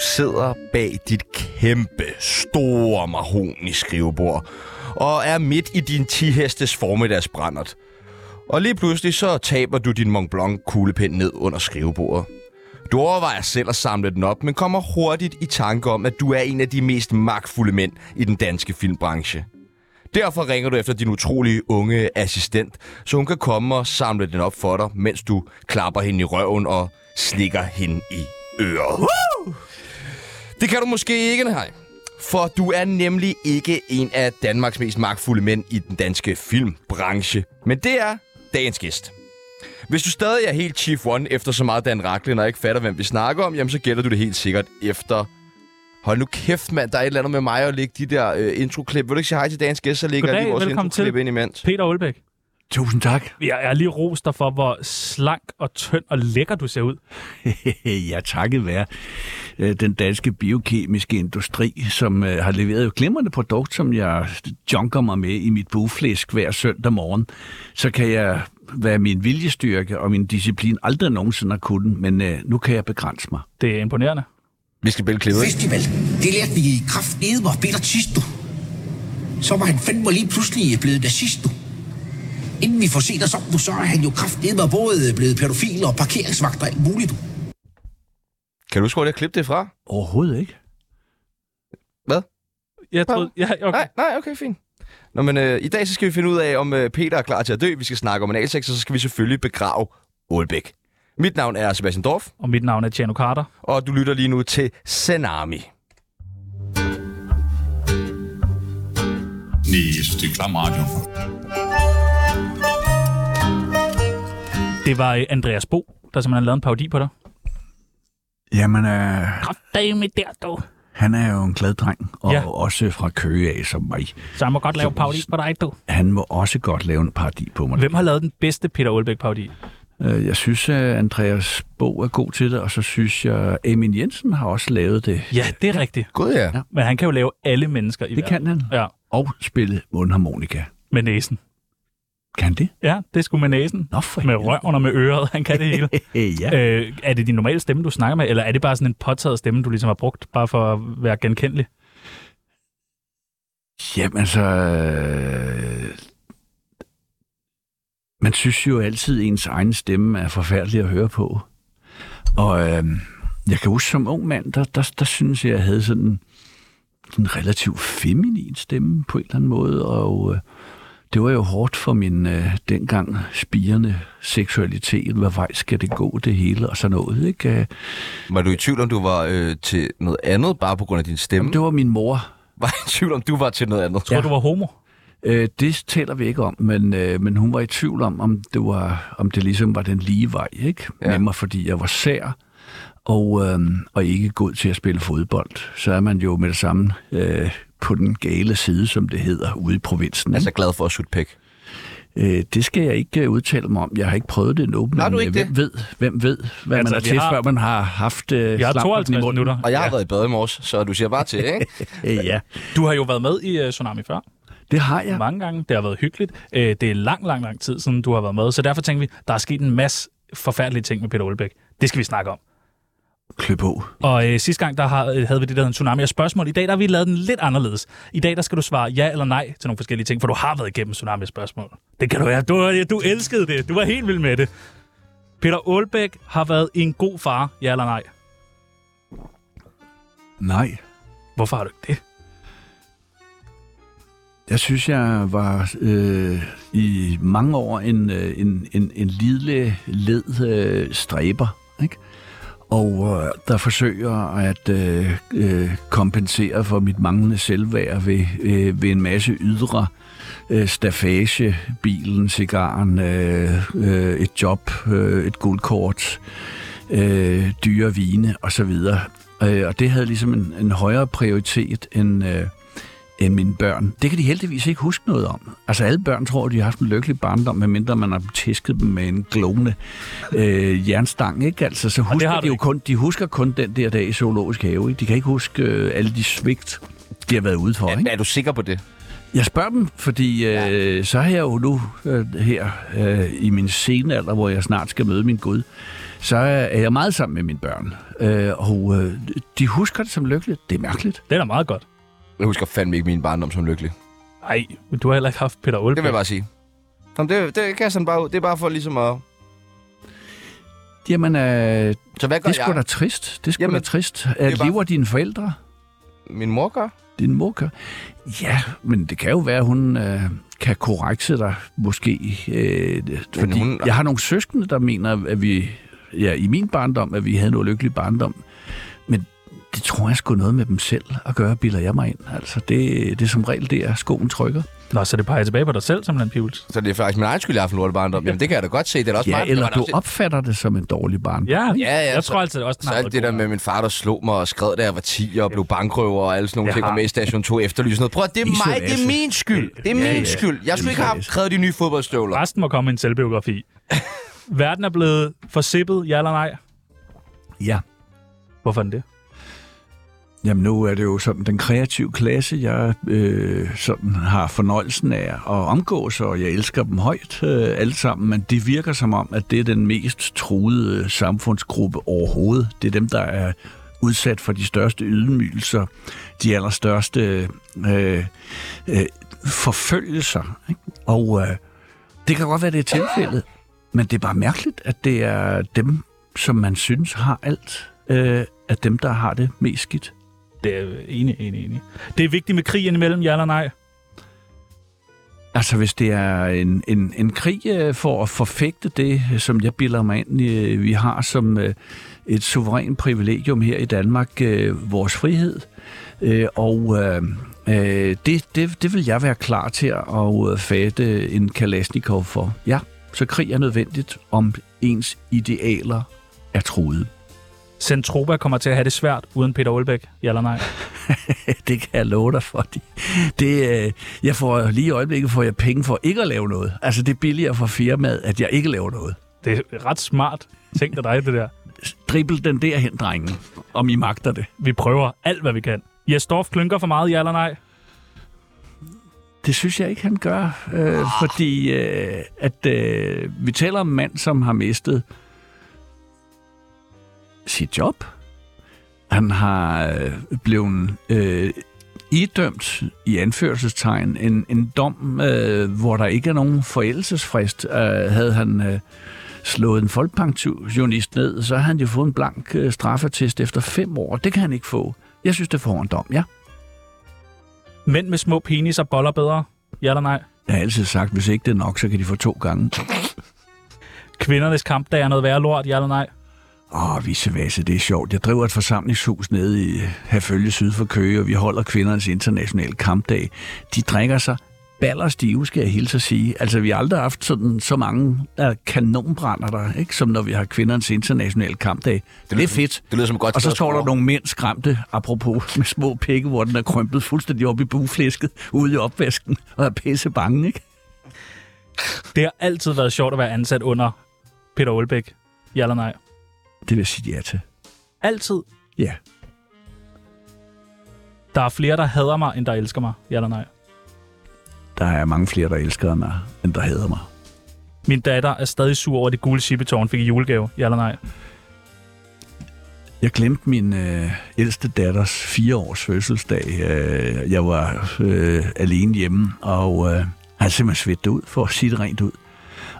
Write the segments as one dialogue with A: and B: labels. A: sidder bag dit kæmpe, store mahoni skrivebord og er midt i din 10-hestes formiddagsbrændert. Og lige pludselig så taber du din Mont Blanc kuglepind ned under skrivebordet. Du overvejer selv at samle den op, men kommer hurtigt i tanke om, at du er en af de mest magtfulde mænd i den danske filmbranche. Derfor ringer du efter din utrolige unge assistent, så hun kan komme og samle den op for dig, mens du klapper hende i røven og slikker hende i øret. Woo! Det kan du måske ikke, nej. For du er nemlig ikke en af Danmarks mest magtfulde mænd i den danske filmbranche. Men det er dagens gæst. Hvis du stadig er helt Chief One efter så meget Dan Racklin og ikke fatter, hvem vi snakker om, jamen så gætter du det helt sikkert efter... Hold nu kæft, mand. Der er et eller andet med mig at lægge de der øh, introklip. Vil du ikke sige hej til dagens gæst, så lægger jeg
B: Goddag,
A: lige vores
B: velkommen til.
A: introklip ind imens.
B: Peter Olbæk,
C: Tusind tak.
B: jeg er lige rost dig for, hvor slank og tynd og lækker du ser ud.
C: ja, takket være øh, den danske biokemiske industri, som øh, har leveret et glimrende produkt, som jeg junker mig med i mit bugflæsk hver søndag morgen. Så kan jeg være min viljestyrke og min disciplin aldrig nogensinde har kunnet, men øh, nu kan jeg begrænse mig.
B: Det er imponerende.
A: Vi skal spille klippet.
D: Festival, det lærte vi i kraft edder Peter sidst, du. Så var han fandme lige pludselig blevet nazist, du. Inden vi får set os om, du, så er han jo kraft edder både blevet pædofil og parkeringsvagt og alt muligt, du.
A: Kan du huske, hvor det er klippet det fra?
C: Overhovedet ikke.
A: Hvad?
B: Jeg troede, ja, okay.
A: Nej, nej, okay, fint. Nå, men øh, i dag så skal vi finde ud af, om øh, Peter er klar til at dø. Vi skal snakke om en alsex, og så skal vi selvfølgelig begrave Aalbæk. Mit navn er Sebastian Dorf,
B: Og mit navn er Tjano Carter.
A: og du lytter lige nu til Tsunami.
E: Nej, jeg synes, det er klam radio.
B: Det var øh, Andreas Bo, der simpelthen lavede en parodi på dig.
C: Jamen, øh,
B: Goddag med der, dog.
C: han er jo en glad dreng, og
B: Ja.
C: ja. også fra Køge af som mig.
B: Så jeg må godt lave parodi på dig, du.
C: Han må også godt lave en parodi på mig.
B: Hvem har lavet den bedste Peter Olbæk parodi?
C: Øh, Jeg synes, at Andreas Bo er god til det, og så synes jeg, at Emin Jensen har også lavet det.
B: Ja, det er rigtigt.
A: God, ja.
B: Men han kan jo lave alle mennesker i
C: Det
B: verden.
C: kan han.
B: Ja,
C: Og spille mundharmonika.
B: med næsen.
C: Kan det?
B: Ja, det skulle med næsen.
C: Nå for
B: Med røven og med øret. Han kan det hele.
C: helvede. ja.
B: Øh, er det din normale stemme, du snakker med, eller er det bare sådan en påtaget stemme, du ligesom har brugt, bare for at være genkendelig?
C: Jamen altså... øh, Man synes jo altid, at ens egen stemme er forfærdelig at høre på. Og øh, jeg kan huske, som ung mand, der, der, der synes jeg, jeg havde sådan en- en relativt feminin stemme på en eller anden måde, og øh, det var jo hårdt for min øh, dengang spirende seksualitet. Hvad vej skal det gå, det hele, og sådan noget, ikke? Øh,
A: Var du i tvivl, om du var øh, til noget andet, bare på grund af din stemme?
C: Jamen,
A: Du...
C: det var min mor,
A: Var jeg i tvivl, om du var til noget andet?
B: Tror ja. du var homo?
C: Øh, det taler vi ikke om, men, øh, men hun var i tvivl om, om det, var, om det ligesom var den lige vej ikke?
A: Ja.
C: Ja. med mig, fordi jeg var sær og, øh, og ikke god til at spille fodbold. Så er man jo med det samme øh, på den gale side, som det hedder, ude i provinsen.
A: Altså
C: Altså,
A: glad for at sutte pæk.
C: øh, det skal jeg ikke øh, udtale mig om. Jeg har ikke prøvet det endnu, men
A: Har du
C: øh,
A: ikke
C: hvem,
A: det?
C: Ved, hvem ved, hvad
B: Altså,
C: altså,
B: vi
C: man er til,
B: har-
C: har... før man har haft øh,
B: Jeg har
C: slampet i
B: 52
C: munden.
B: minutter.
A: Og jeg har ja. været i bad i morges, så du siger bare til, ikke?
C: Øh, ja,
B: Du har jo været med i uh, Tsunami før,
C: det har jeg.
B: ja. mange gange. Det har været hyggeligt. Uh, det er lang, lang, lang tid siden, du har været med. Så derfor tænker vi, der er sket en masse forfærdelige ting med Peter Olbæk. Det skal vi snakke om.
C: Klø på.
B: Og øh, sidste gang, der har, øh, havde vi det, der hedder en tsunami af spørgsmål. I dag, der har vi lavet den lidt anderledes. I dag, der skal du svare ja eller nej til nogle forskellige ting, for du har været igennem tsunami af spørgsmål. Det kan du være. Du, du elskede det. Du var helt vild med det. Peter Aalbæk har været en god far, ja eller nej.
C: Nej.
B: Hvorfor har du ikke det?
C: Jeg synes, jeg var øh, i mange år en, øh, en, en, en lille led øh, stræber, ikke? og øh, der forsøger at øh, øh, kompensere for mit manglende selvværd ved, øh, ved en masse ydre øh, stafage, bilen, cigaren, øh, øh, et job, øh, et guldkort, øh, dyre vine osv. Øh, og det havde ligesom en, en højere prioritet end... Øh, end mine børn. Det kan de heldigvis ikke huske noget om. Altså alle børn tror, de har haft en lykkelig barndom, medmindre man har tæsket dem med en glående øh, jernstang. Ikke? Altså, så
B: det
C: husker
B: har du
C: de jo
B: ikke.
C: kun, de husker kun den der dag i zoologisk have. Ikke? De kan ikke huske øh, alle de svigt, de har været ude for. Ikke?
A: Er du sikker på det?
C: Jeg spørger dem, fordi øh, så har jeg jo nu øh, her øh, i min senalder, hvor jeg snart skal møde min Gud, så er jeg meget sammen med mine børn. Øh, og øh, de husker det som lykkeligt. Det er mærkeligt.
B: Det er da meget godt.
A: Jeg husker fandme ikke min barndom som lykkelig.
B: Nej, men du har heller ikke haft Peter
A: Det vil jeg
B: Olbæk.
A: bare sige. Jamen, det, det kan jeg sådan bare ud. Det er bare for ligesom at...
C: Jamen, øh,
A: Så hvad
C: det
A: gør
C: er sgu da
A: jeg?
C: trist. Det er sgu
A: Jamen,
C: da trist. At
A: bare-
C: lever dine forældre?
A: Min mor gør.
C: Din mor gør? Ja, men det kan jo være, at hun øh, kan korrekse dig, måske. Øh, fordi
A: hun-
C: hun... Jeg har nogle søskende, der mener, at vi ja, i min barndom, at vi havde en ulykkelig barndom. Men det tror jeg sgu noget med dem selv at gøre, bilder jeg mig ind. Altså, det, det er som regel det, at skoen trykker.
B: Nå, så det peger tilbage på dig selv, simpelthen, Pibels.
A: Så det er faktisk min egen skyld, jeg har haft en lortebarndom. Jamen, det kan jeg da godt se. Det er da også
C: Ja,
A: mig, der
C: eller
A: var da
C: du
A: også-
C: opfatter det som en dårlig barndom.
B: Ja,
A: Ja, ja,
B: jeg
A: så-
B: tror altid også, den
A: Så
B: har
A: alt
B: været
A: det der
B: god.
A: med min far, der slog mig og skred, da jeg var 10 og blev bankrøver og alle sådan nogle
B: Jeg
A: ting, og
B: har-
A: med i station 2 efterlys. og Noget. Prøv at det er
C: Isolase.
A: mig, det er min skyld. Det er
C: Ja,
A: min
C: ja.
A: skyld. Jeg skulle ikke have
C: Isolase.
A: krævet de nye fodboldstøvler.
B: Resten må komme i en selvbiografi. Verden er blevet forsippet, ja eller nej?
C: ja.
B: Hvorfor er den det?
C: Jamen nu er det jo sådan den kreative klasse, jeg øh, sådan har fornøjelsen af at omgås, og jeg elsker dem højt øh, alle sammen, men det virker som om, at det er den mest truede samfundsgruppe overhovedet. Det er dem, der er udsat for de største ydmygelser, de allerstørste øh, øh, forfølgelser. Ikke? Og øh, det kan godt være, det er tilfældet, men det er bare mærkeligt, at det er dem, som man synes har alt, øh, at dem, der har det mest skidt.
B: Det er øh, enig, enig, enig. Det er vigtigt med krigen imellem, ja eller nej?
C: Altså, hvis det er en, en, en krig øh, for at forfægte det, som jeg bilder mig ind, øh, vi har som øh, et suverænt privilegium her i Danmark, øh, vores frihed, øh, og øh, øh, det, det, det vil jeg være klar til at øh, fatte en Kalashnikov for. Ja, så krig er nødvendigt, om ens idealer er truet.
B: Centropa kommer til at have det svært uden Peter Olbæk, ja eller nej?
C: det kan jeg love dig for. Det, det, øh, jeg får lige i øjeblikket får jeg penge for ikke at lave noget. Altså, det er billigere for firmaet, at jeg ikke laver noget.
B: Det er ret smart tænkt af dig, det der.
C: dribbel den derhen, drenge, om I magter det.
B: Vi prøver alt, hvad vi kan. Jes Dorf klynker for meget, ja eller nej?
C: Det synes jeg ikke, han gør, øh, fordi øh, at øh, vi taler om en mand, som har mistet sit job. Han har øh, blevet øh, idømt, i anførselstegn, en, en dom, øh, hvor der ikke er nogen forældelsesfrist. Øh, havde han øh, slået en folkepensionist ned, så havde han jo fået en blank øh, straffetest efter fem år. Det kan han ikke få. Jeg synes, det får en dom, ja.
B: Mænd med små peniser boller bedre, ja eller nej?
C: Jeg har altid sagt, hvis ikke det er nok, så kan de få to gange.
B: Kvindernes kamp, der er noget værre lort, ja eller nej?
C: Åh, oh, vissevasse, det er sjovt. Jeg driver et forsamlingshus nede i Herfølge syd for Køge, og vi holder kvindernes internationale kampdag. De drikker sig ballerstive, skal jeg hilse at sige. Altså, vi har aldrig haft sådan, så mange uh, kanonbrænder der, ikke? som når vi har kvindernes internationale kampdag. Det, det er fedt.
A: Det lyder som et godt
C: Og så
A: sted at
C: står der
A: score.
C: nogle mænd skræmte, apropos, med små pikke, hvor den er krympet fuldstændig op i bugflæsket, ude i opvasken, og er pisse bange, ikke?
B: Det har altid været sjovt at være ansat under Peter Olbæk, ja eller nej?
C: Det vil jeg sige ja til.
B: Altid.
C: Ja.
B: Der er flere, der hader mig, end der elsker mig, ja eller nej?
C: Der er mange flere, der elsker mig, end der hader mig.
B: Min datter er stadig sur over, at det gule chippetårn fik i julegave, ja eller nej?
C: Jeg glemte min øh, ældste datters fireårs fødselsdag. Øh, jeg var øh, alene hjemme, og øh, har simpelthen svedt det ud, for at sige det rent ud.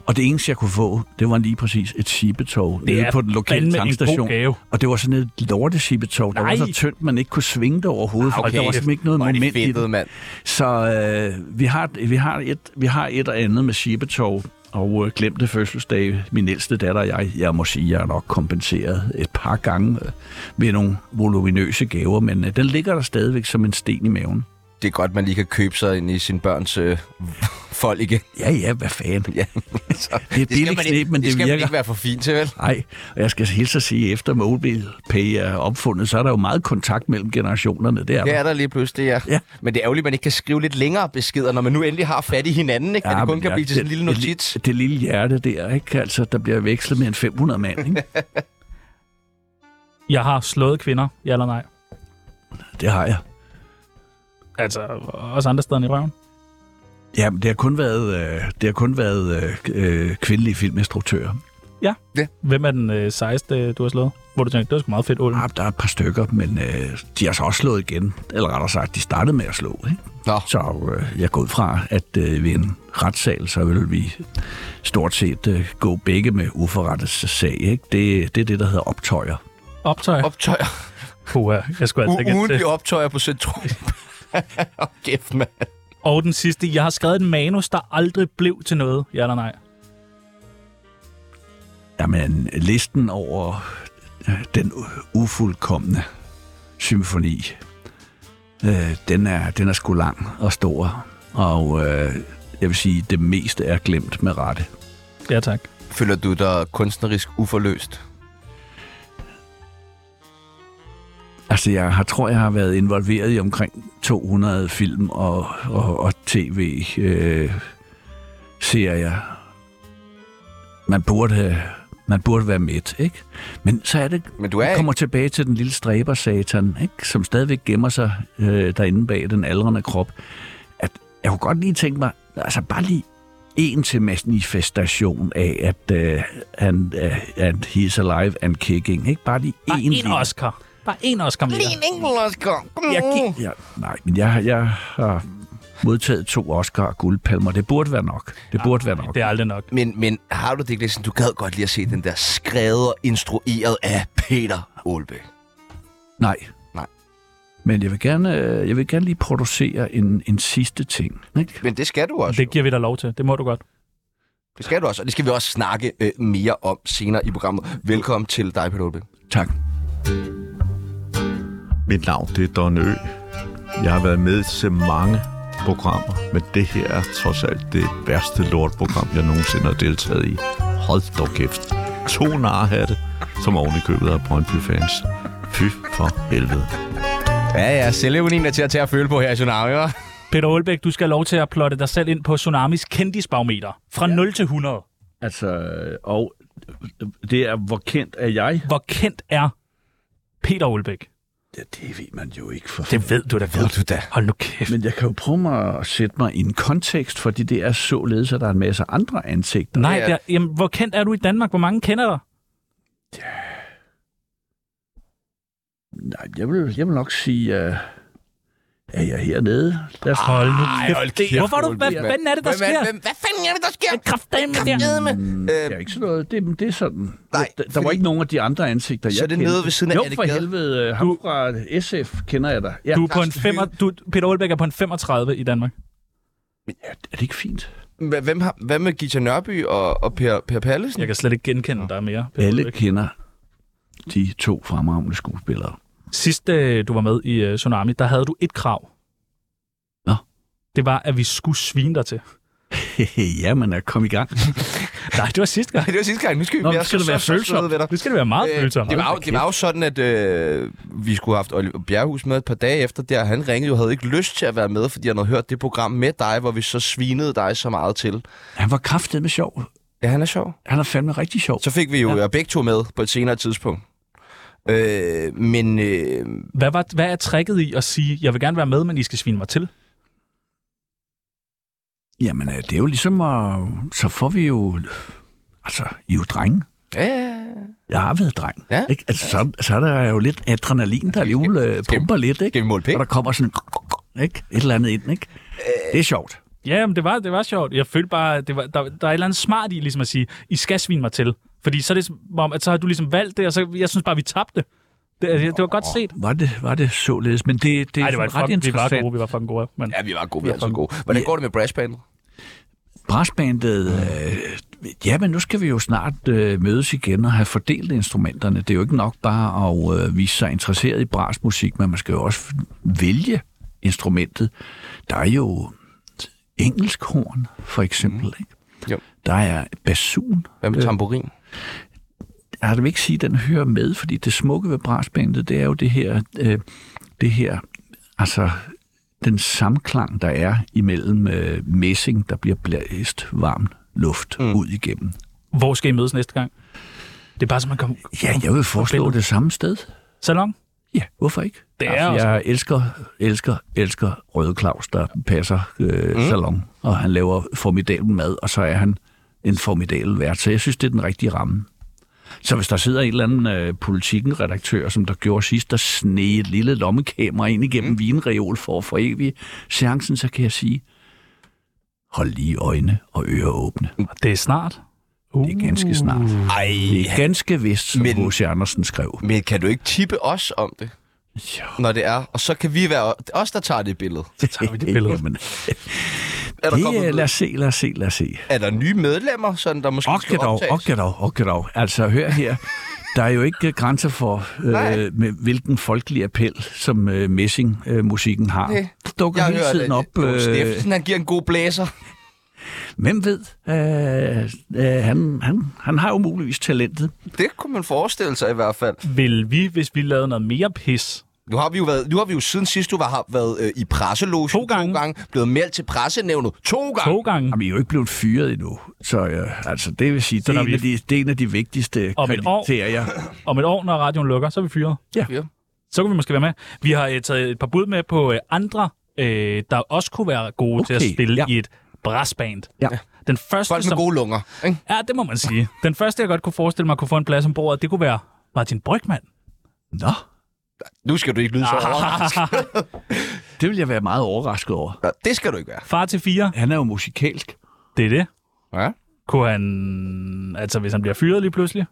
C: Og det eneste, jeg kunne få, det var lige præcis et sibetog nede på den lokale
B: fandme en god
C: tankstation.
B: gave.
C: Og det var sådan et lortesibetog, der var
B: Nej.
C: så tyndt, man ikke kunne svinge det overhovedet, okay.
A: Okay.
C: for der var simpelthen ikke noget
A: Hvor er de
C: moment i
A: fedtede,
C: det.
A: mand.
C: Så øh, vi, har, vi, har et, vi har et og andet med Sibetov og øh, glemte fødselsdage. Min ældste datter og jeg, jeg må sige, jeg er nok kompenseret et par gange øh, med nogle voluminøse gaver, men øh, den ligger der stadigvæk som en sten i maven.
A: Det er godt, man lige kan købe sig ind i sin børns øh, folk igen.
C: Ja, ja, hvad fanden.
A: Ja. Så,
C: Det er billigt knep, men det
A: skal man
C: virker.
A: ikke være for fin til, vel?
C: Nej, og jeg skal hilse at sige, efter MobilePay er opfundet, så er der jo meget kontakt mellem generationerne. Det er
A: Det
C: der.
A: er der lige pludselig, ja.
C: Ja.
A: Men det er ærgerligt, at man ikke kan skrive lidt længere beskeder, når man nu endelig har fat i hinanden, ikke? Ja, det kun
C: men
A: kan
C: ja,
A: blive til sådan en lille
C: det-
A: notits.
C: Det, det lille hjerte der, ikke? Altså, der bliver vekslet med en 500 mand, ikke?
B: Jeg har slået kvinder, ja eller nej?
C: Det har jeg.
B: Altså, også andre steder end i røven.
C: Ja, det har kun været, øh, det har kun været øh, øh, kvindelige filminstruktører.
B: Ja.
A: Ja.
B: Hvem er den øh, sejeste, du har slået? Hvor du tænkte, det var sgu meget fedt, Ålen.
C: Ja, der er et par stykker, men øh, de har så også slået igen. Eller rettere sagt, de startede med at slå. Ikke?
A: Nå.
C: Så øh, jeg går ud fra, at øh, ved en retssal, så vil vi stort set øh, gå begge med uforrettets sag. Ikke? Det, det er det, der hedder optøjer.
B: Optøj. Op.
A: Optøjer.
B: Puha, jeg skulle altså ikke
A: U-
B: have
A: ugentlige
B: det.
A: optøjer på Centrum. Åh, kæft, mand.
B: Og den sidste. Jeg har skrevet et manus, der aldrig blev til noget. Ja eller nej?
C: Jamen, listen over øh, den u- ufuldkommende symfoni, øh, den, er, den er sgu lang og stor. Og øh, jeg vil sige, det meste er glemt med rette.
B: Ja, tak.
A: Føler du dig kunstnerisk uforløst?
C: Altså, jeg har, tror, jeg har været involveret i omkring 200 film og, og, og øh, tv-serier. Man burde, man burde være med, ikke? Men så er det,
A: Men du er
C: vi
A: ikke.
C: kommer tilbage til den lille stræber satan, ikke? som stadigvæk gemmer sig øh, derinde bag den aldrende krop. At jeg kunne godt lige tænke mig, altså bare lige en til manifestation af, at øh, han øh, at he's alive and kicking. Ikke? Bare lige
B: Bare
C: en,
B: en Oscar. Bare en Oscar mere.
A: Jeg gik...
C: Ja, nej, men jeg, jeg har modtaget to Oscar og guldpalmer. Det burde være nok. Det burde være nok.
B: Det er aldrig nok.
A: Men, men har du det ikke lidt sådan, du gad godt lige at se den der skrevet og instrueret af Peter Olbæk?
C: Nej.
A: Nej.
C: Men jeg vil gerne, øh, jeg vil gerne lige producere en, en sidste ting. Ikke?
A: Men det skal du også.
B: Det giver vi dig lov til. Det må du godt.
A: Det skal du også, og det skal vi også snakke øh, mere om senere i programmet. Velkommen til dig, Peter Olbæk.
C: Tak.
E: Mit navn det er Don Ø. Jeg har været med til mange programmer, men det her er trods alt det værste lortprogram, jeg nogensinde har deltaget i. Hold dog kæft. To narhatte, som oven i købet af Brøndby-fans. Fy for helvede.
A: Ja, ja, selvirmonien er til at tage at føle på her i Tsunami, hva'?
B: Peter Aalbæk, du skal have lov til at plotte dig selv ind på Tsunamis kendisbarometer. Fra ja. 0 til 100.
C: Altså, og det er, hvor kendt er jeg?
B: Hvor kendt er Peter Aalbæk?
C: Ja, det ved man jo ikke for
B: Det ved du da, ved du da. Hold nu kæft.
C: Men jeg kan jo prøve mig at sætte mig i en kontekst, fordi det er således, at der er en masse andre ansigter.
B: Nej,
A: Ja.
B: der, jamen, hvor kendt er du i Danmark? Hvor mange kender dig?
C: Nej, jeg vil, jeg vil nok sige, uh, er jeg hernede? Lad os
B: Hold nu kæft. Det, hvorfor er du, hvad
A: Olbæk, mand.
B: fanden er det, der
A: Hvem-
B: sker?
A: hvem- Hvad fanden er det, der sker?
B: Hvad kraftedeme det er?
A: Kraftedeme.
C: Mm, Det er
A: Øh,
C: ikke sådan noget. Det, det er sådan.
A: Nej,
C: der, der
A: fordi-
C: var ikke nogen af de andre ansigter, jeg
A: Så er det
C: kendte.
A: nede ved siden af
C: Jo,
A: Anne
C: for
A: Gade.
C: helvede. Du... Ham fra SF kender jeg dig. Ja.
B: Du er på en
A: Karsten
B: femmer,
A: Hønge.
B: du, Peter Aalbæk er på en 35 i Danmark.
C: Er, er det ikke fint?
A: hva- Hvem har, hvad med Gita Nørby og, og per, per Pallesen?
B: Jeg kan slet ikke genkende dig mere. Peter
C: Alle
B: Aalbæk.
C: kender de to fremragende skuespillere.
B: Sidst øh, du var med i øh, Tsunami, der havde du et krav.
C: Nå.
B: Det var, at vi skulle svine dig til.
C: ja, men er kom i gang.
B: Nej, det var sidste gang.
A: Det var sidste gang. Nu skal vi
B: Nå, nu
A: være
B: skal
A: så-
B: det være
A: så- så søde
B: følsomt.
A: ved dig.
B: Nu skal det være meget
A: Øh,
B: følsomt.
A: det, var jo, det var jo sådan, at øh, vi skulle have haft Oliver Bjerghus med et par dage efter der. Han ringede jo og havde ikke lyst til at være med, fordi han havde hørt det program med dig, hvor vi så svinede dig så meget til.
C: Han var kraftet med sjov.
A: Ja, han er sjov.
C: Han er fandme rigtig sjov.
A: Så fik vi jo ja. begge to med på et senere tidspunkt. Øh, men øh,
B: Hvad, var, hvad er tricket i at sige, jeg vil gerne være med, men I skal svine mig til?
C: Jamen, øh, det er jo ligesom at... Så får vi jo... Altså, I er jo drenge.
A: ja,
C: Jeg har været dreng.
A: Ja.
C: Ikke? Altså, så, så er der jo lidt adrenalin, der alligevel øh, pumper lidt. Ikke?
A: skal vi måle pæk?
C: Og der kommer sådan ikke? et eller andet ind. Ikke? Det er sjovt.
B: Ja, men det var, det var sjovt. Jeg følte bare, at det var, der, der er et eller andet smart i ligesom at sige, I skal svine mig til. Fordi så er det som om, at så har du ligesom valgt det, og så, jeg synes bare, vi tabte. Det, altså, det, det var godt set.
C: Var det, var det således? Men det, det er
B: Nej, det var et
C: ret
B: fucking, vi var
C: interessant.
B: gode, vi var fucking gode. Men
A: Ja, vi var gode, vi var så gode. Hvordan går det med brassbandet?
C: Brassbandet, øh, ja, men nu skal vi jo snart øh, mødes igen og have fordelt instrumenterne. Det er jo ikke nok bare at øh, vise sig interesseret i brassmusik, men man skal jo også vælge instrumentet. Der er jo engelsk horn, for eksempel. Ikke?
A: Jo.
C: Der er basun.
A: Hvad
B: Øh.
A: med tamburin?
C: jeg vil ikke sige, at den hører med, fordi det smukke ved brassbandet, det er jo det her, øh, det her, altså den samklang, der er imellem øh, messing, der bliver blæst varm luft mm. ud igennem.
B: hvor skal I mødes næste gang? Det er bare, så man kommer...
C: Ja, jeg vil foreslå det samme sted.
B: Salon?
C: Ja, hvorfor ikke?
B: Det er
C: altså,
B: også-
C: jeg elsker, elsker, elsker Røde Claus, der passer øh, mm. salon, og han laver formidabel mad, og så er han en formidabel vært. Så jeg synes, det er den rigtige ramme. Så hvis der sidder en eller anden øh, politikken-redaktør, som der gjorde sidst, der sneg et lille lommekamera ind igennem mm. vinreol for at forevige seancen, så kan jeg sige, hold lige øjne og ører åbne.
B: Og det er snart. Uh.
C: Det er ganske snart.
A: Ej,
C: Det er ganske vist, som
A: Men-
C: H.C. Andersen skrev.
A: men kan du ikke tippe os om det,
C: Jo.
A: når det er? Og så kan vi være det er os, der tager det billede.
C: Det
B: tager vi det billede.
C: Jamen,
A: Er der, kommet,
C: det, er- lad
A: noget-
C: os se, lad os se, lad os se.
A: er der nye medlemmer, sådan, der måske
C: Okay
A: skal
C: dog,
A: optages?
C: okay dog, okay dog. Altså, hør her. Der er jo ikke øh, grænser for,
A: Nej.
C: øh, med, hvilken folkelig appel, som øh, messing-musikken har.
A: Nej.
C: Det dukker
A: Jeg
C: hele
A: hører
C: tiden
A: det.
C: op.
A: Mogens
C: Øh,
A: Steffensen, han giver en god blæser.
C: hvem ved? Øh, øh, han, han, han har jo muligvis talentet.
A: Det kunne man forestille sig i hvert fald.
B: Vil vi, hvis vi lavede noget mere pis,
A: Nu har vi jo, været, nu har vi jo siden sidst, du var, har været øh, i presselogen
B: To gange.
A: to gange, blevet meldt til pressenævnet to gange.
B: to gange
C: Jamen, I er jo ikke blevet fyret endnu. Så øh, altså, det vil sige, det
B: når
C: er, en
B: vi-
C: af de, det er en af de vigtigste
B: Om et år.
C: kriterier.
B: om et år, når radioen lukker, så er vi fyret.
A: Ja.
B: Så kan vi måske være med. Vi har øh, taget et par bud med på øh, andre, øh, der også kunne være gode okay, til at
C: Okay,
B: spille
C: ja.
B: i et brassband.
C: Ja.
B: Den første,
A: Folk med
B: som...
A: gode lunger. Ikke?
B: Ja, det må man sige. Den første, jeg godt kunne forestille mig kunne få en plads om bordet, det kunne være Martin Brygman.
C: Nå,
A: Nu skal du ikke lyde så overrasket.
C: det vil jeg være meget overrasket over.
A: Nå, Det skal du ikke gøre.
B: Far til fire,
C: Han er jo musikalsk.
B: det er det.
A: Ja.
B: Kunne han... Altså, hvis han bliver fyret lige pludselig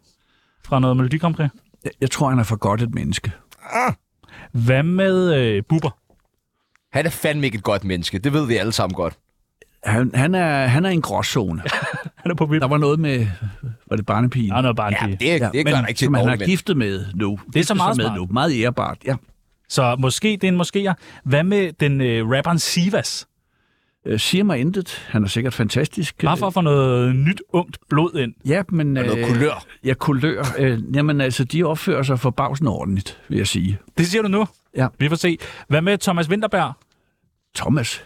B: fra noget Melodi Grand Prix.
C: Jeg, jeg tror, han er for godt et menneske.
B: Hvad med øh, Bubber?
A: Han er fandme ikke et godt menneske. Det ved vi alle sammen godt.
C: Han, han, er, han er i en gråzone.
B: Han er på vild.
C: Der var noget med, var det barnepigen?
B: Der er noget bare
A: Ja,
B: ja,
A: det, er, det
C: men
A: gør han ikke til
C: som
A: et
C: han er
A: dårligt menneske.
C: giftet med nu. Det
B: meget
C: med
B: smart.
C: nu. Meget ærebart, ja.
B: Så måske det er en måske. Hvad med den øh, rapperen Sivas?
C: Øh, siger mig intet. Han er sikkert fantastisk.
B: Bare for at få noget nyt, ungt blod ind.
C: Øh, Ja, men...
A: Og noget kulør.
C: Ja, kulør. Øh, jamen altså, de opfører sig forbavsende ordentligt, vil jeg sige.
B: Det siger du nu.
C: Ja.
B: Vi får se. Hvad med Thomas Winterberg?
C: Thomas,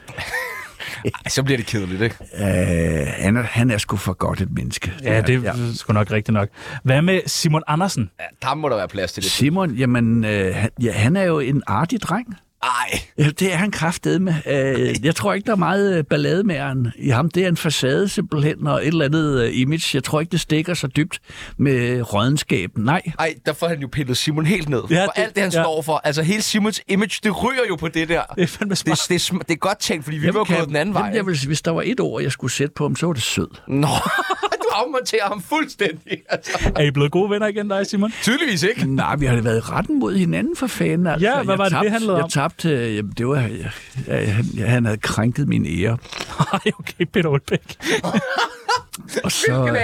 A: Ej, så bliver det kedeligt, ikke?
C: øh, han, er, han er sgu for godt et menneske.
B: Ja, det er
C: Ja.
B: ja. sgu nok rigtigt nok. Hvad med Simon Andersen?
A: Ja, der må der være plads til det.
C: Simon, jamen, øh, han, ja, han er jo en artig dreng.
A: Ej,
C: Ja, det er han kraftedeme. Øh, jeg tror ikke, der er meget øh, ballade med han. i ham. Det er en facade simpelthen, og et eller andet øh, image. Jeg tror ikke, det stikker så dybt med øh, rådenskaben. Nej,
A: ej, der får han jo pillet Simon helt ned. Ja,
B: Ja,
A: for
B: det-
A: alt det, han
B: ja.
A: står for. Altså, hele Simons image, det ryger jo på det der.
B: Det er fandme
A: Det,
B: smart.
A: det, er, sm- det er godt tænkt, fordi vi var
C: kan-
A: gået den anden
C: jamen,
A: vej.
C: Jeg vil, hvis der var et ord, jeg skulle sætte på ham, så var det sød.
A: Nå, du afmonterer ham fuldstændig. Altså.
B: Er I blevet gode venner igen, dig, Simon?
A: Tydeligvis ikke.
C: Nej, vi har da været retten mod hinanden for fanden. Altså.
B: Mm. Ja, hvad
C: jeg
B: var det, det
C: tabte,
B: handlede om?
C: Jeg tabte, øh, jamen, det var, jeg, jeg, han, jeg, han havde krænket min ære.
B: Nej, okay, Peter Olbæk.
C: Og så,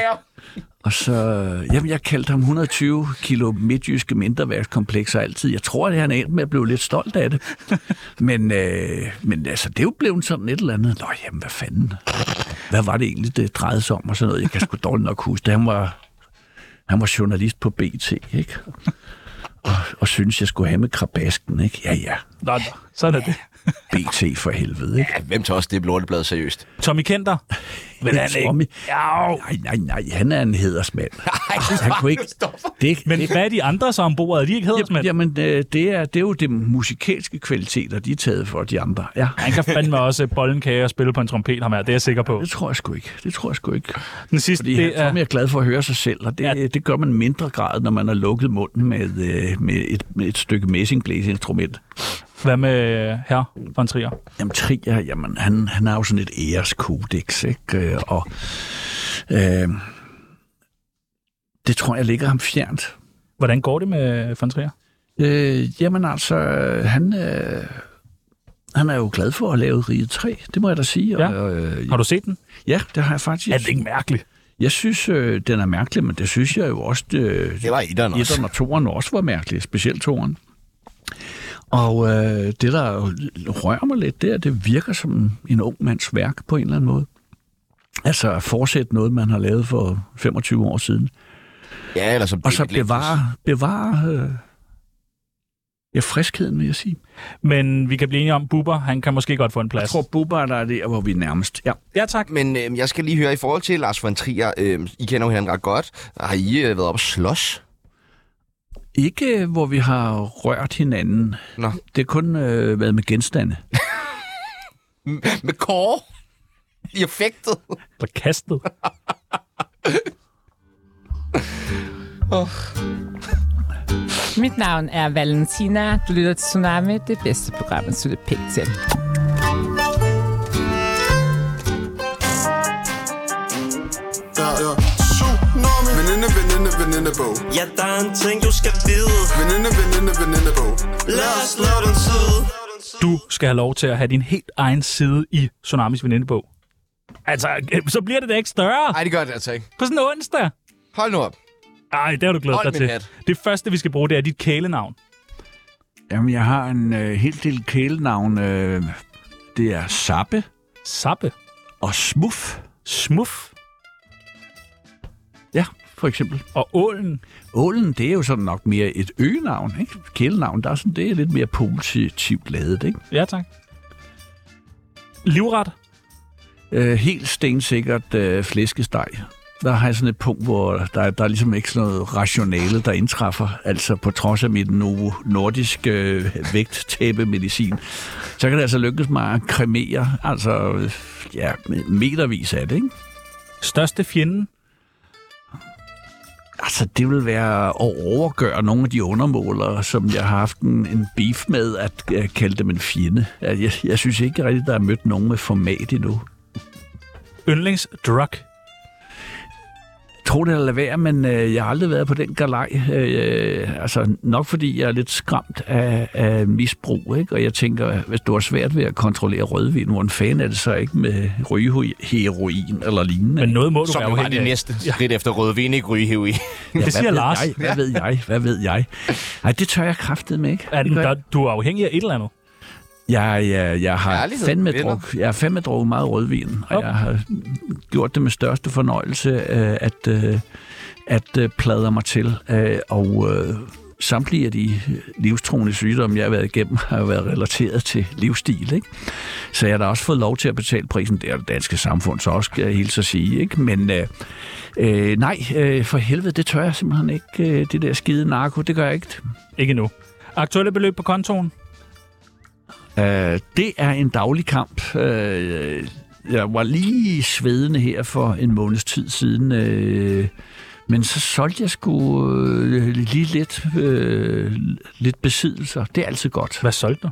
C: og så, øh, jamen, jeg kaldte ham 120 kilo midtjyske mindreværkskomplekser altid. Jeg tror, at han endte med at blive lidt stolt af det. Men, øh, men altså, det er jo blevet sådan et eller andet. Nå, jamen, hvad fanden? Hvad var det egentlig, det drejede sig om og sådan noget? Jeg kan sgu dårligt nok huske det. Han var, han var journalist på BT, ikke? Og, og synes jeg skulle have med krabasken, ikke? Ja, ja.
B: Nå, nå, sådan er det.
C: BT for helvede, ikke?
A: Ja, hvem tager også det lorteblad seriøst?
B: Tommy Kenter. Men han er ikke.
C: Tommy.
B: Ja,
C: Nej, nej, nej, han er en hedersmand. Han kunne ikke... Det,
B: men hvad er de andre så ombord? Er de ikke hedersmænd?
C: Jamen, øh, det er, det er jo de musikalske kvaliteter, de er taget for, de andre. Ja.
B: Han kan fandme også øh, bolle en kage og spille på en trompet, ham her. Det er jeg sikker på.
C: Det tror jeg sgu ikke. Det tror jeg sgu ikke.
B: Den sidste,
C: Fordi det
B: det
C: er...
B: er...
C: jeg er glad for at høre sig selv, og det,
B: Ja.
C: ja. det gør man i mindre grad, når man har lukket munden med, øh, med, et, med et stykke messingblæseinstrument.
B: Hvad med øh, her von Trier?
C: Jamen, Trier, jamen, han, han har jo sådan et æreskodex, ikke? Øh, Og, øh, det tror jeg ligger ham fjernt.
B: Hvordan går det med von Trier?
C: Øh, jamen altså, han, øh, han er jo glad for at lave Rige 3, det må jeg da sige.
B: Ja.
C: Og, øh,
B: Har du set den?
C: ja, det har jeg faktisk.
B: Er det ikke mærkeligt?
C: Jeg synes, øh, den er mærkelig, men det synes jeg jo også, øh,
A: Det var etteren også.
C: etteren og toeren også var mærkelig, specielt toeren. Og øh, det, der jo rører mig lidt, det er, at det virker som en ung mands værk på en eller anden måde. Altså at fortsætte noget, man har lavet for 25 år siden.
A: Ja, eller som
C: Og så
A: David Lynch.
C: bevare, bevare øh, ja, friskheden, vil jeg sige.
B: Men vi kan blive enige om, Bubber, han kan måske godt få en
C: Jeg
B: plads.
C: tror, Bubber der er der, hvor vi er nærmest. Ja.
B: Ja, tak.
A: Men øh, jeg skal lige høre i forhold til Lars von Trier. Øh, I kender jo hinanden ret godt. Har I øh, været op og slås?
C: Ikke, øh, hvor vi har rørt hinanden.
A: Nå.
C: Det er kun øh, været med genstande.
A: M- Med kåre? I effektet?
B: Der kastet.
F: Mit navn er Valentina. Du lytter til Tsunami, det bedste program, at slutte pænt til.
G: Veninde, veninde, veninde bog.
H: Ja, der er en ting, du skal vide.
G: Veninde, veninde, veninde bog.
H: Lad os lave den tid.
B: Du skal have lov til at have din helt egen side i Tsunamis venindebog. Altså, øh, så bliver det da ikke større
A: Nej, det gør det altså ikke.
B: på sådan en onsdag.
A: Hold nu op.
B: Ej, det har du glædet
A: Hold
B: dig
A: min
B: til.
A: hat.
B: Det første, vi skal bruge, det er dit kælenavn.
C: Jamen, jeg har en øh, hel del kælenavn. Øh, det er Sappe
B: Sappe.
C: og Smuff.
B: Smuf.
C: Ja, for eksempel.
B: Og ålen.
C: Ålen, det er jo sådan nok mere et øgenavn, ikke? Kælenavn, der er sådan, det er lidt mere positivt lavet, ikke?
B: Ja, tak. Livret.
C: Øh, helt stensikkert øh, flæskesteg. Der har jeg sådan et punkt, hvor der, der er ligesom ikke sådan noget rationale, der indtræffer. Altså på trods af mit novo nordisk øh, vægttæppemedicin, så kan det altså lykkes mig at kremere, altså øh, ja, metervis af det, ikke?
B: Største fjende.
C: Altså, det vil være at overgøre nogle af de undermålere, som jeg har haft en, en beef med, at øh, kalde dem en fjende. Jeg, jeg, jeg synes ikke rigtigt, der er mødt nogen med format endnu.
B: Yndlingsdrug.
C: tror det eller lade være, men øh, jeg har aldrig været på den galej. Øh, altså nok fordi jeg er lidt skræmt af, af misbrug, ikke? og jeg tænker, hvis du har svært ved at kontrollere rødvin, hvor en fan er det så ikke med rygeheroin eller lignende?
B: Men noget må du
A: Som
B: være
A: jo var
B: afhængig
A: det
B: af.
A: næste skridt efter rødvin, ikke rygehiv i.
C: Ja,
B: det
C: hvad
B: siger
C: ved
B: Lars.
C: Jeg, hvad ved jeg? Hvad ved jeg? Nej, det tør jeg kraftet med, ikke?
B: Er
C: Det
B: den,
C: gør
B: der, du er afhængig af et eller andet.
C: Jeg, jeg, jeg har
A: Ærlighed
C: fandme
A: vinder.
C: druk. Jeg har fandme drukket meget rødvin, og
B: Okay.
C: jeg har gjort det med største fornøjelse øh, at, øh, at øh, pladre mig til. Øh, Og øh, samtlige af de øh, livstruende sygdomme, jeg har været igennem, har jo været relateret til livsstil. Ikke? Så jeg har da også fået lov til at betale prisen. Det er det danske samfund, så også skal jeg hilse at sige. Ikke? Men øh, øh, nej, øh, for helvede, det tør jeg simpelthen ikke. Øh, Det der skide narko, det gør jeg ikke.
B: Ikke nu. Aktuelle beløb på kontoen.
C: Øh, det er en daglig kamp. Øh, jeg var lige svedende her for en måneds tid siden, øh, men så solgte jeg sgu øh, lige lidt, øh, lidt besiddelser. Det er altid godt.
B: Hvad solgte du?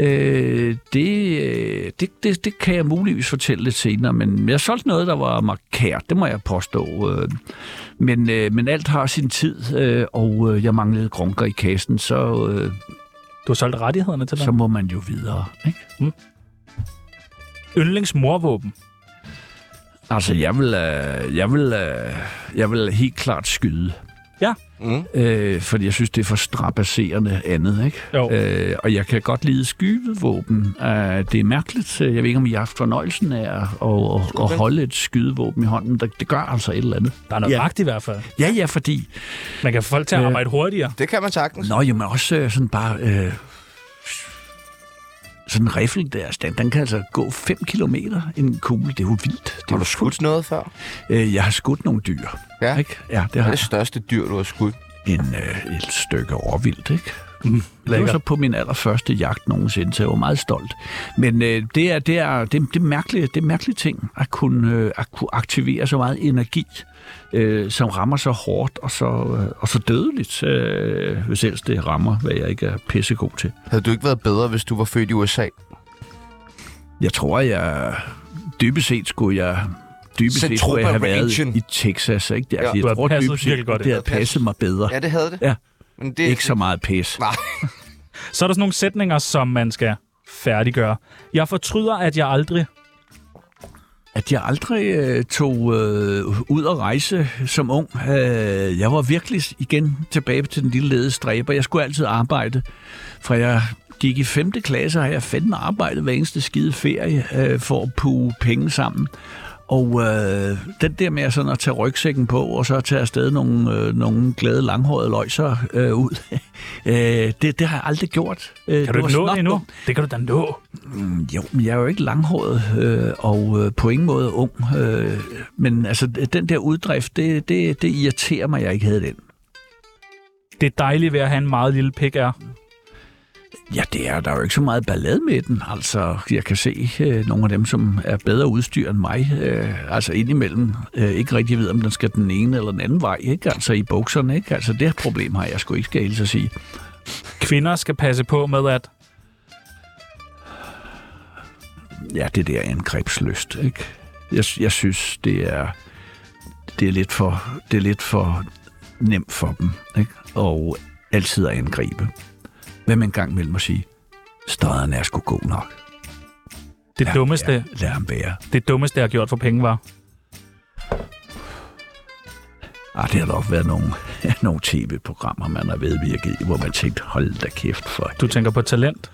C: Øh, det, øh, det, det, det kan jeg muligvis fortælle lidt senere, men jeg solgte noget, der var markert, det må jeg påstå. Øh, men, øh, men alt har sin tid, øh, og øh, jeg manglede grunker i kassen, så, øh,
B: Du har solgt rettighederne til
C: så
B: dem.
C: må man jo videre. Ikke?
B: Yndlingsmorvåben.
C: Altså, jeg vil, øh, jeg vil, øh, jeg vil helt klart skyde.
B: Ja.
A: Mm.
C: Øh, fordi jeg synes, det er for strapasserende andet, ikke?
B: Jo.
C: Øh, og jeg kan godt lide skydevåben. Øh, det er mærkeligt. øh, Jeg ved ikke, om I har haft fornøjelsen af at, at, at, at holde et skydevåben i hånden. Det, det gør altså et eller andet.
B: Der er noget
C: Ja.
B: magt i hvert fald.
C: Ja, ja, fordi...
B: Man kan få folk til at
C: Øh.
B: arbejde hurtigere.
A: Det kan man sagtens.
C: Nå, jo, men også øh, sådan bare... Øh, sådan en riffel der, den, den kan altså gå 5 km en kugle. Det er jo vildt. Det er
A: Har
C: jo,
A: du skudt noget før?
C: øh, jeg har skudt nogle dyr.
A: Ja.
C: Ikke? Ja, det
A: Hvad
C: har
A: er
C: jeg.
A: det største dyr, du har skudt?
C: en, øh, et stykke råvildt, ikke?
B: Mm,
C: Det var
B: lækkert.
C: så på min allerførste jagt nogensinde, så jeg var meget stolt. Men øh, det er, det er, det, det er mærkelige, det er mærkelige ting, at kunne, øh, at kunne aktivere så meget energi, øh, som rammer så hårdt og så, øh, og så dødeligt, øh, hvis ellers det rammer, hvad jeg ikke er pissegod til.
A: Havde du ikke været bedre, hvis du var født i USA?
C: Jeg tror, jeg dybest set skulle jeg dybest set skulle jeg have
A: Centropa
C: været
A: Region.
C: i Texas. Ikke? Det,
A: Ja.
C: altså, ja,
B: Du
C: jeg
B: har
C: tror,
B: passet
C: dybest
B: virkelig
C: set,
B: godt
C: det havde passet mig bedre.
A: Ja, det havde det.
C: Ja.
A: Men det,
C: Ikke så meget pis.
A: Nej.
B: Så er der sådan nogle sætninger, som man skal færdiggøre. Jeg fortryder, at jeg aldrig...
C: at jeg aldrig øh, tog øh, ud og rejse som ung. Øh, jeg var virkelig igen tilbage til den lille lede stræber. Jeg skulle altid arbejde. Fra jeg gik i 5. klasse, har jeg fandme arbejdet hver eneste skide ferie øh, for at puge penge sammen. Og øh, den der med sådan at tage rygsækken på, og så tage afsted nogle, øh, nogle glade langhårede løjser øh, ud, øh, det, det har jeg aldrig gjort. Øh,
B: Kan du
C: var
B: ikke nå det
C: snot-
B: endnu? Det kan du da nå.
C: jo, men jeg er jo ikke langhåret øh, og øh, på ingen måde ung. Øh, men altså, den der uddrift, det, det, det irriterer mig, at jeg ikke havde den.
B: Det dejlige ved at have en meget lille pik er...
C: Ja, det er der er jo ikke så meget ballade med den. Altså, jeg kan se øh, nogle af dem, som er bedre udstyr end mig, øh, altså indimellem øh, ikke rigtig ved, om den skal den ene eller den anden vej, ikke? Altså i bukserne, ikke? Altså det her problem har jeg sgu ikke, skal jeg hilse at sige.
B: Kvinder skal passe på med at...
C: Ja, det der angrebsløst, ikke? Jeg, jeg synes, det er, det, er lidt for, det er lidt for nemt for dem, ikke? Og altid at angribe. Hvem en gang mellem at sige, støderen er sgu god nok.
B: Det
C: Lad ham
B: dummeste,
C: være. Lad ham være.
B: det dummeste, jeg har gjort for penge, var...
C: Ah, det har nok været nogle, nogle tv-programmer, man har vedvirket i, hvor man tænkte, hold da kæft for.
B: Du tænker på talent.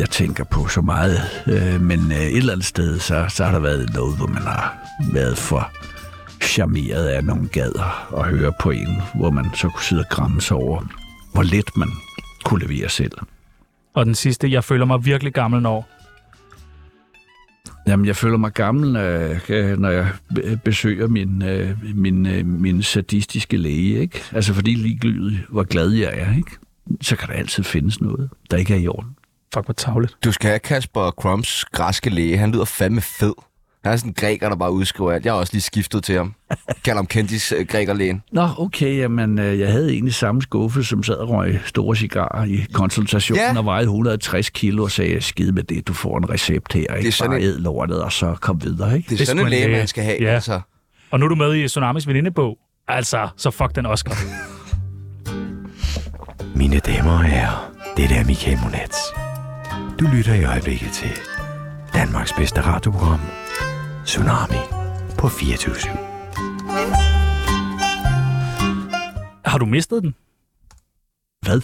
C: Jeg tænker på så meget, øh, men øh, et eller andet sted, så, så har der været noget, hvor man har været for charmeret af nogle gader og høre på en, hvor man så kunne sidde og kramme sig over, hvor lidt man kunne levere selv.
B: Og den sidste, jeg føler mig virkelig gammel, når...
C: Jamen, jeg føler mig gammel, øh, øh, når jeg be- besøger min, øh, min, øh, min sadistiske læge, ikke? Altså, fordi ligegyldigt, hvor glad jeg er, ikke? Så kan der altid findes noget, der ikke er i orden.
B: Fuck, hvor tavligt.
A: Du skal have Kasper Krums græske læge. Han lyder fandme fed. Han er sådan en græker, der bare udskriver alt. Jeg har også lige skiftet til ham. Kalder ham Kendis øh, grækerlægen.
C: Nå, okay, jamen, øh, jeg havde egentlig samme skuffe, som sad og røg store cigarer i konsultationen
A: Ja.
C: og vejede 160 kilo og sagde, skid med det, du får en recept her, ikke? Det
A: sådan
C: er sådan Bare
A: en-
C: æd lortet, og så kom videre, ikke?
A: Det er
B: Det er
A: sådan
B: sgu
A: en
B: en
A: læge,
B: læge.
A: man skal have.
B: Ja.
A: Altså.
B: Og nu er du med i Tsunamis venindebog. Altså, så fuck den Oscar.
I: Mine damer og herrer, det er Michael Monats. Du lytter i øjeblikket til Danmarks bedste radioprogram, Tsunami på 24
B: har du mistet den?
C: Hvad?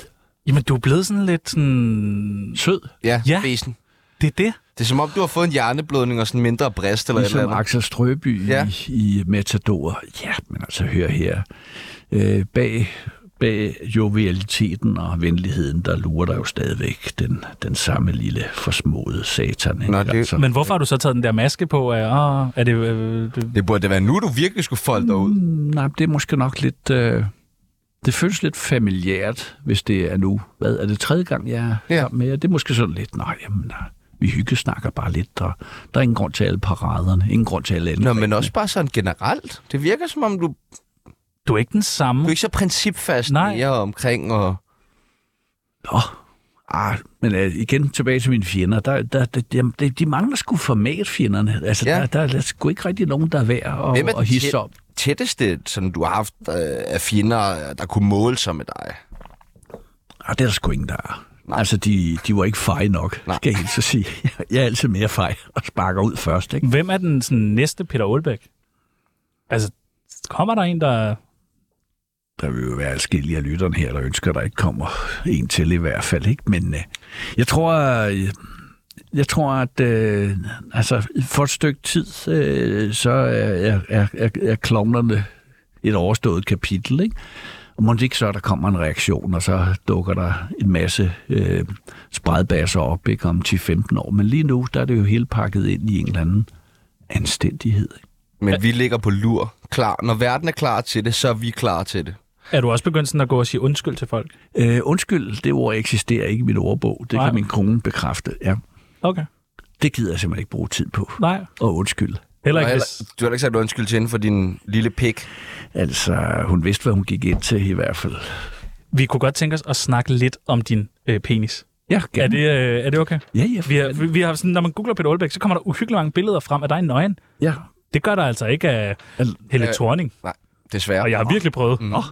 B: Jamen, du er blevet sådan lidt sådan...
C: Sød?
A: Ja,
B: Ja.
A: ja. Besen.
B: Det er det.
A: Det er som om, du har fået en hjerneblødning og sådan en mindre brist eller et
C: Ligesom
A: eller andet.
C: Axel Strøby ja.
A: Ja.
C: i, i Matador. Ja, men altså hør her. Øh, bag, bag jovialiteten og venligheden, der lurer der jo stadigvæk den, den samme lille forsmåede satan. ikke?
A: Nå, det-
C: altså,
B: Men hvorfor har du så taget den der maske på? Er, åh, er det... Øh, det
A: Det burde det være nu, du virkelig skulle folde dig ud.
C: Mm, Nej, det er måske nok lidt... Øh, det føles lidt familiært, hvis det er nu. Hvad er det tredje gang, jeg er
A: Ja.
C: sammen med jer? Det er måske sådan lidt... Nej, jamen, nej. vi hyggesnakker bare lidt, og der er ingen grund til alle paraderne, ingen grund til alle
A: Nå,
C: angrebene.
A: men også bare sådan generelt. Det virker som om, du, du
B: du er ikke den samme.
A: er ikke så principfast
B: Nej.
A: mere omkring. Og...
C: Nå, ah, men øh, igen tilbage til mine fjender. Der, der, der, der, de, de mangler sgu format, fjenderne. Altså, ja.
A: Ja.
C: der, der, er sgu ikke rigtig nogen, der er værd
A: Hvem er
C: at, at
A: den
C: hisse
A: tæt-
C: op.
A: tætteste, som du har haft øh, af fjender, der kunne måle sig med dig?
C: Ah, det er der sgu ingen, der er. Altså, de, de var ikke fej nok, Nej.
A: Nej.
C: skal jeg helt så sige. Jeg er altid mere fej og sparker ud først, ikke?
B: Hvem er den sådan, næste Peter Olbæk? Altså, kommer der en, der...
C: Der vil jo være adskillige af lytterne her, der ønsker, der ikke kommer en til i hvert fald. Ikke? Men øh, jeg tror, øh, jeg tror at øh, altså, for et stykke tid, øh, så er, er, er, er klovnerne et overstået kapitel. Ikke? Og må det ikke så, der kommer en reaktion, og så dukker der en masse øh, spredbasser op ikke? om 10-15 år. Men lige nu, der er det jo helt pakket ind i en eller anden anstændighed. Ikke?
A: Men vi ligger på lur. Klar. Når verden er klar til det, så er vi klar til det.
B: Er du også begyndt sådan at gå og sige undskyld til folk?
C: Øh, undskyld, det ord eksisterer ikke i mit ordbog. Det Nej.
B: Nej.
C: kan min kone bekræfte. Ja.
B: Okay.
C: Det gider jeg simpelthen ikke bruge tid på.
B: Nej.
C: Og undskyld.
B: Heller
A: Og
B: ikke,
A: heller,
B: hvis...
A: du har heller ikke sagt undskyld til hende for din lille pik.
C: Altså, hun vidste, hvad hun gik ind til i hvert fald.
B: Vi kunne godt tænke os at snakke lidt om din øh, penis.
C: Ja,
B: Ja. Er,
C: gerne.
B: det, øh, er det okay?
C: Ja, ja.
B: Vi har, vi, vi har sådan, når man googler Peter Olbæk, så kommer der uhyggeligt mange billeder frem af dig i nøgen.
C: ja.
B: Det gør der altså ikke af Helle
A: Øh,
B: Thorning,
A: Nej, desværre.
B: og jeg har virkelig prøvet.
A: Mm.
B: Nå.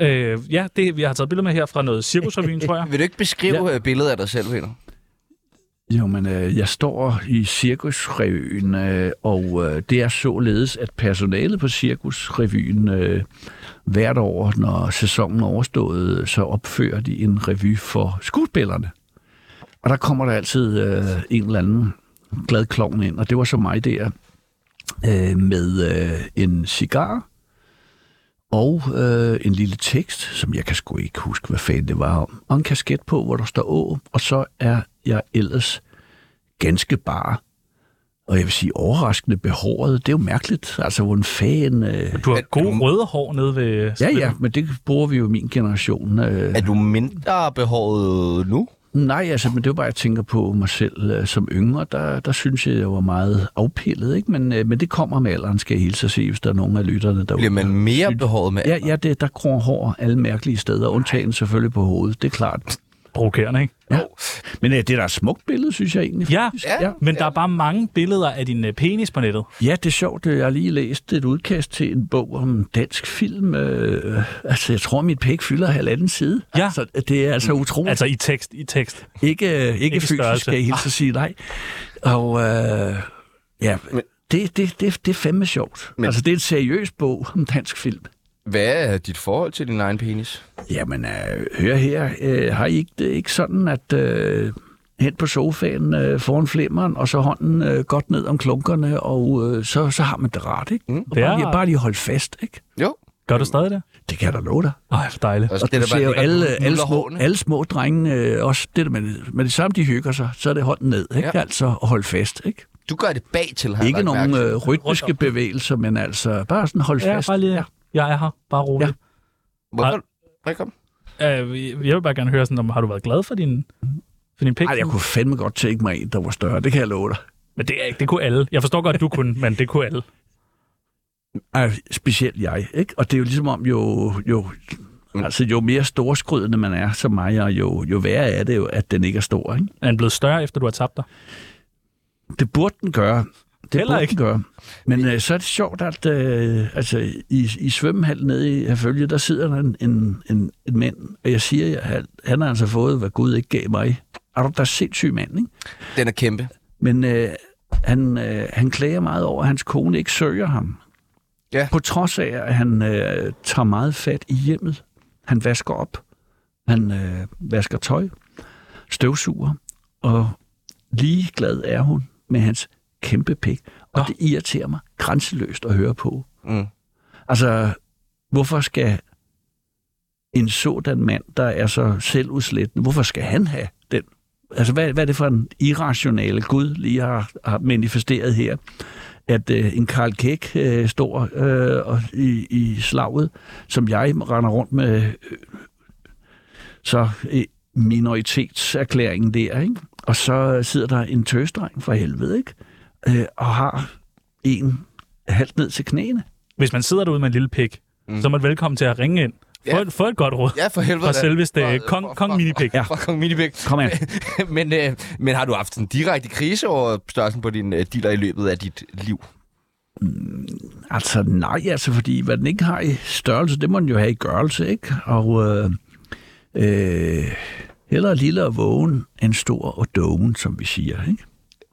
B: Øh, ja, det, vi har taget billeder med her fra noget cirkusrevyen, tror jeg.
A: Vil du ikke beskrive ja. billedet af dig selv, Peter?
C: Jo, men øh, jeg står i Cirkusrevyen, øh, og øh, det er således, at personalet på Cirkusrevyen øh, hvert år, når sæsonen er overstået, øh, så opfører de en revy for skuespillerne. Og der kommer der altid øh, en eller anden glad klovn ind, og det var så mig der øh, med øh, en cigar og øh, en lille tekst, som jeg kan sgu ikke huske, hvad fanden det var om, og en kasket på, hvor der står Å, og så er jeg ellers ganske bare. Og jeg vil sige, overraskende behåret, det er jo mærkeligt, altså hvor en fan... Øh,
B: Du har gode røde hår nede ved...
C: ja, ja, men det bruger vi jo i min generation. Øh,
A: Er du mindre behåret nu?
C: Nej, altså, men det var bare, jeg tænker på mig selv øh, som yngre, der, der synes jeg, jeg var meget afpillet, ikke? Men, øh, men det kommer med alderen, skal jeg hilse og se, hvis der er nogen af lytterne derude.
A: Bliver man mere behåret med
C: Ja, ja det, der gror hår alle mærkelige steder, undtagen selvfølgelig på hovedet, det er klart.
B: Provokerende, ikke?
C: Ja. Men øh, det er da et smukt billede, synes jeg egentlig.
B: Ja,
C: ja.
B: men der er bare mange billeder af din øh, penis på nettet.
C: Ja, det er sjovt. øh, Jeg har lige læst et udkast til en bog om dansk film. Øh, altså, jeg tror, mit pæk fylder halvanden side.
B: Ja.
C: Altså, det er altså utroligt.
B: Altså i tekst, i tekst.
C: Ikke, ikke, ikke fysisk,
B: størrelse.
C: skal jeg hilse at sige nej. Og øh, ja, det, det, det, det er fandme sjovt. Men. Altså, det er en seriøs bog om dansk film.
A: Hvad er dit forhold til din egen penis?
C: Jamen, øh, hør her, øh, har I ikke, det er ikke sådan, at øh, hen på sofaen øh, foran flimmeren, og så hånden øh, godt ned om klunkerne, og øh, så, så har man det rart, ikke? Mm. Og
B: Det
C: bare,
B: er-
C: lige, bare lige holde fast, ikke?
A: Jo.
B: Gør du stadig det?
C: Det kan jeg da love dig.
B: Ej, hvor dejligt.
A: Altså,
C: Og det
A: der
C: du ser jo
A: ligger
C: alle,
A: og
C: alle,
A: nuller
C: små,
A: hårene.
C: alle små drenge øh, også, det der med, med det samme, de hygger sig, så er det hånden ned, ikke?
A: Ja.
C: Ja. Altså, og holde fast, ikke?
A: Du gør det bag til, har jeg
C: Ikke
A: lagt
C: nogen
A: mærke til.
C: øh, rytmiske bevægelser, men altså bare sådan holde
B: Ja,
C: fast.
B: bare lige, jeg er her. Bare rolig.
A: Hvorfor? Rikom?
B: Øh, jeg vil bare gerne høre sådan, om har du været glad for din, for din pik?
C: Ej, jeg kunne fandme godt tænke mig en, der var større. Det kan jeg love dig.
B: Men det, er ikke- det kunne alle. Jeg forstår godt, du kunne, men det kunne alle.
C: Ej, specielt jeg, ikke? Og det er jo ligesom om, jo, jo,
A: Mm.
C: altså, jo mere storskrydende man er som mig, og jo, jo værre er det jo, at den ikke er stor, ikke?
B: Er den blevet større, efter du har tabt dig?
C: Det burde den gøre. Det
B: Heller
C: burde
B: ikke.
C: den gøre. Men øh, så er det sjovt, at øh, altså, i, i svømmehallen nede i Herfølge, der sidder der en, en, en, en mand, og jeg siger, at han har altså fået, hvad Gud ikke gav mig. Er du da sindssyg mand, ikke?
A: Den er kæmpe.
C: Men øh, han, øh, han klager meget over, at hans kone ikke søger ham.
A: Ja.
C: På trods af, at han øh, tager meget fat i hjemmet. Han vasker op. Han øh, vasker tøj. Støvsuger. Og ligeglad er hun med hans kæmpe pik. Og det irriterer mig grænseløst at høre på.
A: Mm.
C: Altså, hvorfor skal en sådan mand, der er så selvudslættende, hvorfor skal han have den? Altså, hvad, hvad er det for en irrationale Gud lige har, har manifesteret her? At øh, en Karl Kæk øh, står øh, og, i, i slaget, som jeg render rundt med, øh, så øh, minoritetserklæringen der, ikke? Og så sidder der en tøsdreng for helvede, ikke? Øh, og har en halvt ned til knæene.
B: Hvis man sidder derude med en lille pik, mm. så er man velkommen til at ringe ind. Få,
A: Ja.
B: et, få et godt råd.
A: Ja, for helvede.
B: Fra
A: da.
B: selveste
A: Fra-
B: øh, kong,
A: fra-
B: kong
A: fra-
B: Minipik.
A: Ja. Fra Kong Minipik.
C: Kom her.
A: men, øh, men har du haft en direkte krise over størrelsen på din øh, dealer i løbet af dit liv?
C: Altså nej, altså fordi hvad den ikke har i størrelse, det må den jo have i gørelse, ikke? Og øh, øh, hellere lille og vågen end stor og doven, som vi siger, ikke?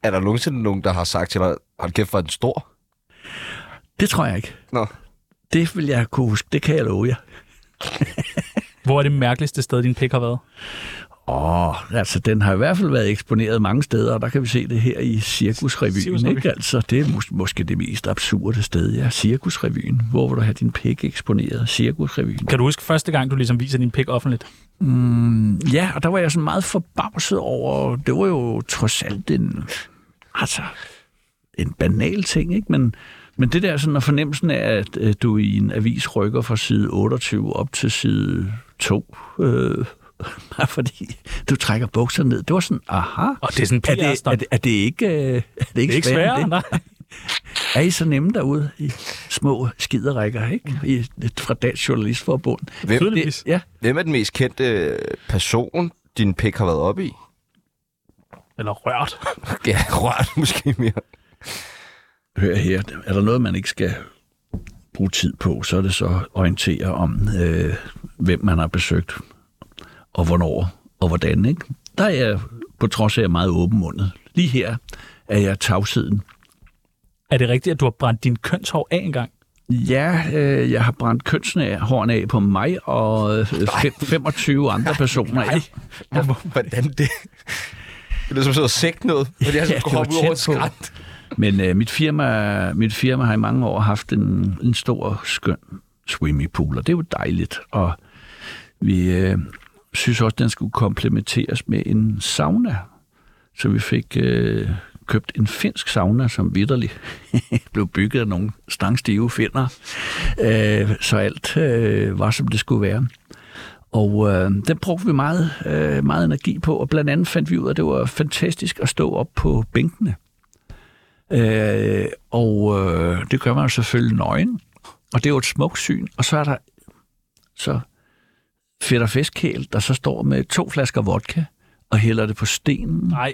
A: Er der nogensinde nogen, der har sagt til dig, hold kæft, hvor er den stor?
C: Det tror jeg ikke.
A: Nå.
C: Det vil jeg kunne huske, det kan jeg love jer.
B: Hvor er det mærkeligste sted, din pik har været?
C: Åh, altså den har i hvert fald været eksponeret mange steder, og der kan vi se det her i Cirkusrevyen,
B: Cirkusrevyen.
C: ikke? Altså, det er mås- måske det mest absurde sted, ja. Cirkusrevyen. Hvor vil du have din pik eksponeret? Cirkusrevyen.
B: Kan du huske første gang, du ligesom viser din pik offentligt?
C: Ja, og der var jeg sådan meget forbavset over, det var jo trods alt en, altså, en banal ting, ikke? Men, men det der sådan, og fornemmelsen af, at øh, du i en avis rykker fra side 28 op til side 2, øh, bare fordi du trækker bukser ned, det var sådan, aha.
B: Og det er sådan en
C: er det, er,
B: PR-stunt.
C: det, er det ikke, øh, er det
B: Det
C: ikke,
B: er ikke
C: sværere, end
B: sværere,
C: det?
B: nej.
C: Er I så nemme derude i små skiderækker, ikke? I, fra Dansk Journalistforbund.
A: Hvem,
B: Tydeligvis.
C: Ja,
A: hvem er den mest kendte øh, person, din pik har været oppe i?
B: Eller rørt.
A: Ja, rørt måske mere.
C: hør her, er der noget, man ikke skal bruge tid på, så er det så orientere om, øh, hvem man har besøgt, og hvornår, og hvordan. Ikke? Der er jeg, på trods af, at jeg er meget åbenmundet. Lige her er jeg tavsheden.
B: Er det rigtigt, at du har brændt din kønshår af engang?
C: Ja, øh, jeg har brændt kønshårene af på mig og øh, fem- 25 andre personer. af.
A: Hvordan det? Det lyder som sådan noget sekt noget, fordi jeg
C: Ja,
A: ja, skulle
C: det var
A: hoppe ud over et
C: tæt på.
A: skrænt.
C: Men øh, mit, firma, mit firma har i mange år haft en, en stor, skøn swimmingpool, og det er jo dejligt. Og vi øh, synes også, den skulle komplementeres med en sauna. Så vi fik øh, købt en finsk sauna, som vidderlig blev bygget af nogle stangstive finder. Øh, så alt øh, var, som det skulle være. Og øh, den brugte vi meget, øh, meget energi på, og blandt andet fandt vi ud af, at det var fantastisk at stå op på bænkene. Øh, og øh, det gør man jo selvfølgelig nøgen, og det er jo et smukt syn. Og så er der så fedt og festkæl, der så står med to flasker vodka og hælder det på stenen
B: Nej,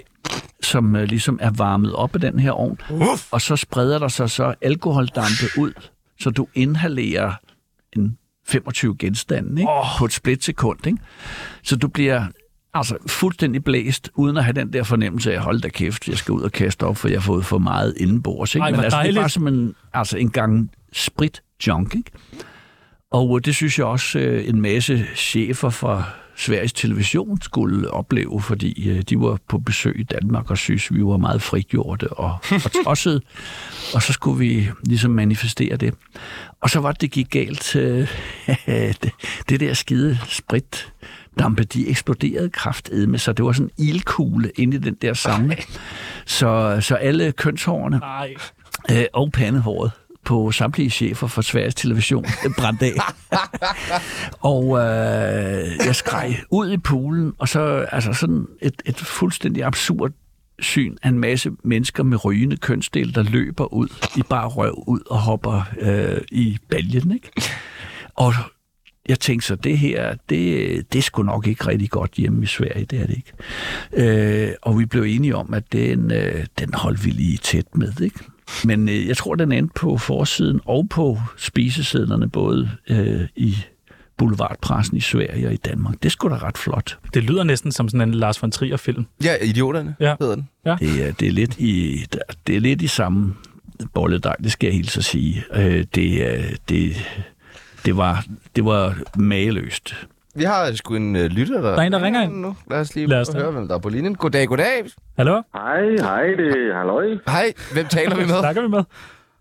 C: som øh, ligesom er varmet op af den her ovn, Uff. og så spreder der sig så alkoholdampe ud, så du inhalerer en 25 genstande ikke? Oh. på et splitsekund. Ikke? Så du bliver altså fuldstændig blæst, uden at have den der fornemmelse af, hold da kæft, jeg skal ud og kaste op, for jeg har fået for meget indenbords. Ikke?
B: Ej, hvor
C: Men altså, det
B: dejligt.
C: er bare som en, altså, en gang sprit junk. Ikke? Og øh, det synes jeg også, øh, en masse chefer fra Sveriges Television skulle opleve, fordi øh, de var på besøg i Danmark og synes, vi var meget frigjorte og, og tossede. Og så skulle vi ligesom manifestere det. Og så var det, det gik galt. øh, det, det der skide sprit dampe, de eksploderede kraftedme, så det var sådan en ildkugle inde i den der samle. Så, så alle kønshårene
B: nej.
C: øh, og pandehåret på samtlige chefer for Sveriges Television øh, brændte af. og øh, jeg skreg ud i poolen, og så altså sådan et, et fuldstændig absurd syn af en masse mennesker med rygende kønsdel, der løber ud i bare røv ud og hopper øh, i baljen, ikke? Og jeg tænkte så, det her, det, det skulle nok ikke rigtig godt hjemme i Sverige, det er det ikke. Øh, og vi blev enige om, at den, øh, den holdt vi lige tæt med, ikke? Men øh, jeg tror, den endte på forsiden og på spisesedlerne, både øh, i boulevardpressen i Sverige og i Danmark. Det skulle da ret flot.
B: Det lyder næsten som sådan en Lars von Trier-film.
A: Ja, Idioterne
B: Ja.
A: hedder den.
C: Det er, det er, lidt, i, det er lidt i samme bolledej, det skal jeg hilse at sige. Øh, det, øh, det, det, var, det var mageløst.
A: Vi har sgu en øh, lytter, der...
B: Der er en, der ringer ind.
A: Nu. Lad os lige
B: Lad os
A: prøve
B: da.
A: at høre, hvem der er på linjen. Goddag, goddag.
B: Hallo?
J: Hej, hej, det er Halløj.
A: Hej, hvem taler vi med?
B: Snakker vi med?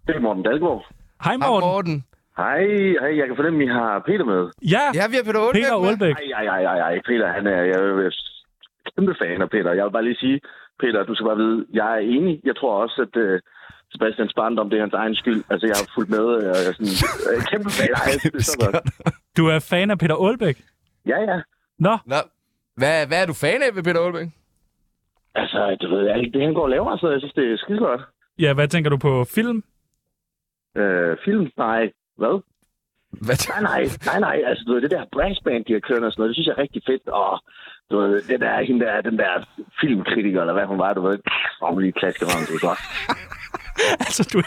J: Det er Morten Dalgaard.
B: Hej,
A: Hej,
B: Morten.
A: Morten.
J: Hej, hej, jeg kan fornemme, at I har Peter med.
B: Ja,
A: Ja, vi er Peter Olbæk.
B: Peter
A: med.
B: Aalbæk.
J: Ej, ej, ej, ej, ej, Peter, han er, jeg er kæmpe fan af Peter. Jeg vil bare lige sige, Peter, du skal bare vide, jeg er enig. Jeg tror også, at øh, Sebastians barndom, det er hans egen skyld. Altså, jeg har fulgt med, og jeg er sådan, øh, kæmpe fan af alt. det, så godt.
B: Du er fan af Peter Aalbæk.
J: Ja, ja.
B: Nå,
A: Nå, hvad, hvad er du fan af ved Peter Olbæk?
J: Altså, du ved, alt det, han går og laver, så jeg synes, det er skide godt.
B: ja, hvad tænker du på film?
J: Øh, film? Nej. Hvad?
A: Hvad
J: Nej, nej, nej, nej. Altså, du ved, det der brassband, de har kørt og sådan noget, det synes jeg er rigtig fedt. Og du ved, det der, hende der, den der filmkritiker, eller hvad hun var, du ved, om lige klasker om det er godt.
B: Altså, du,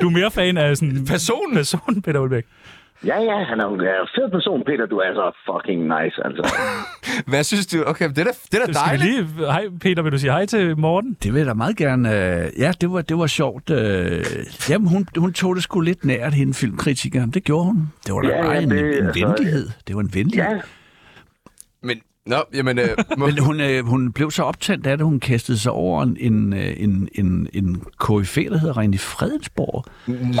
B: du er mere fan af sådan...
A: Personen?
B: Personen Peter Aalbæk.
J: Ja, ja, han er jo en øh, fed person, Peter. Du er så fucking nice, altså.
A: Hvad synes du? Okay, det er da, det er da
B: Skal vi
A: dejligt.
B: lige... Hej, Peter, vil du sige hej til Morten?
C: Det vil jeg da meget gerne. øh, Ja, det var, det var sjovt. øh, Jamen, hun, hun tog det sgu lidt nært, hende filmkritikeren. Det gjorde hun. Det var da
J: Ja, ja,
C: ja, bare en,
J: det-
C: en
J: altså,
C: venlighed. Det var en venlighed.
J: Ja,
A: Men, nå, jamen, øh, må,
C: Men hun, øh, hun blev så optændt af det, hun kastede sig over en, en, øh, en, en, en KF'er, der hedder René Fredensborg.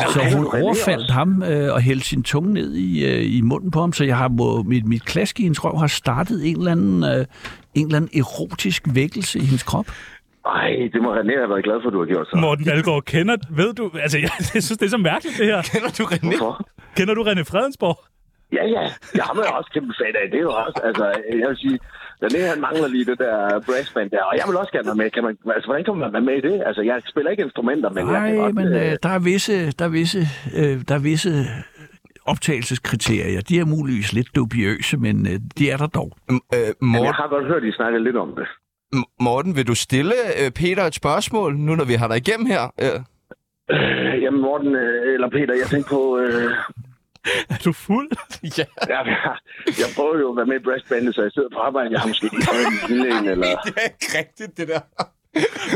C: Så hun
J: René
C: overfaldt
J: også.
C: ham øh, og hældte sin tunge ned i, øh, i munden på ham, så jeg har må, mit, mit klask i hendes røv har startet en eller anden, øh, en eller anden erotisk vækkelse i hendes krop.
J: ej, det må René have været glad for, du har gjort så.
B: Morten Dalgaard, kender... Ved du... Altså, jeg, jeg synes, det er så mærkeligt, det her.
A: kender du René?
J: Hvorfor?
B: Kender du René Fredensborg?
J: Ja, ja. Jeg er jeg også kæmpe fan af. Det er jo også, altså, jeg vil sige, René, han mangler lige det der brassband der, og jeg vil også gerne være med. Kan man, altså, hvordan kan man være med i det? Altså, jeg spiller ikke instrumenter, men jeg kan
C: Nej,
J: godt...
C: men
J: øh,
C: øh, der er visse, der er visse, øh, der er visse optagelseskriterier. De er muligvis lidt dubiøse, men øh, de er der dog.
A: M- øh,
J: Men jeg
A: Morten,
J: har godt hørt, I snakke lidt om det.
A: M- Morten, vil du stille øh, Peter et spørgsmål, nu når vi har dig igennem her? Øh,
J: Øh, jamen, Morten øh, eller Peter, jeg tænkte på... Øh,
B: Er du fuld?
A: ja.
J: jeg, jeg, jeg prøver jo at være med i brassbandet, så jeg sidder på arbejde. Jeg har måske ikke fået en lille en, eller...
A: Det er ikke rigtigt, det der.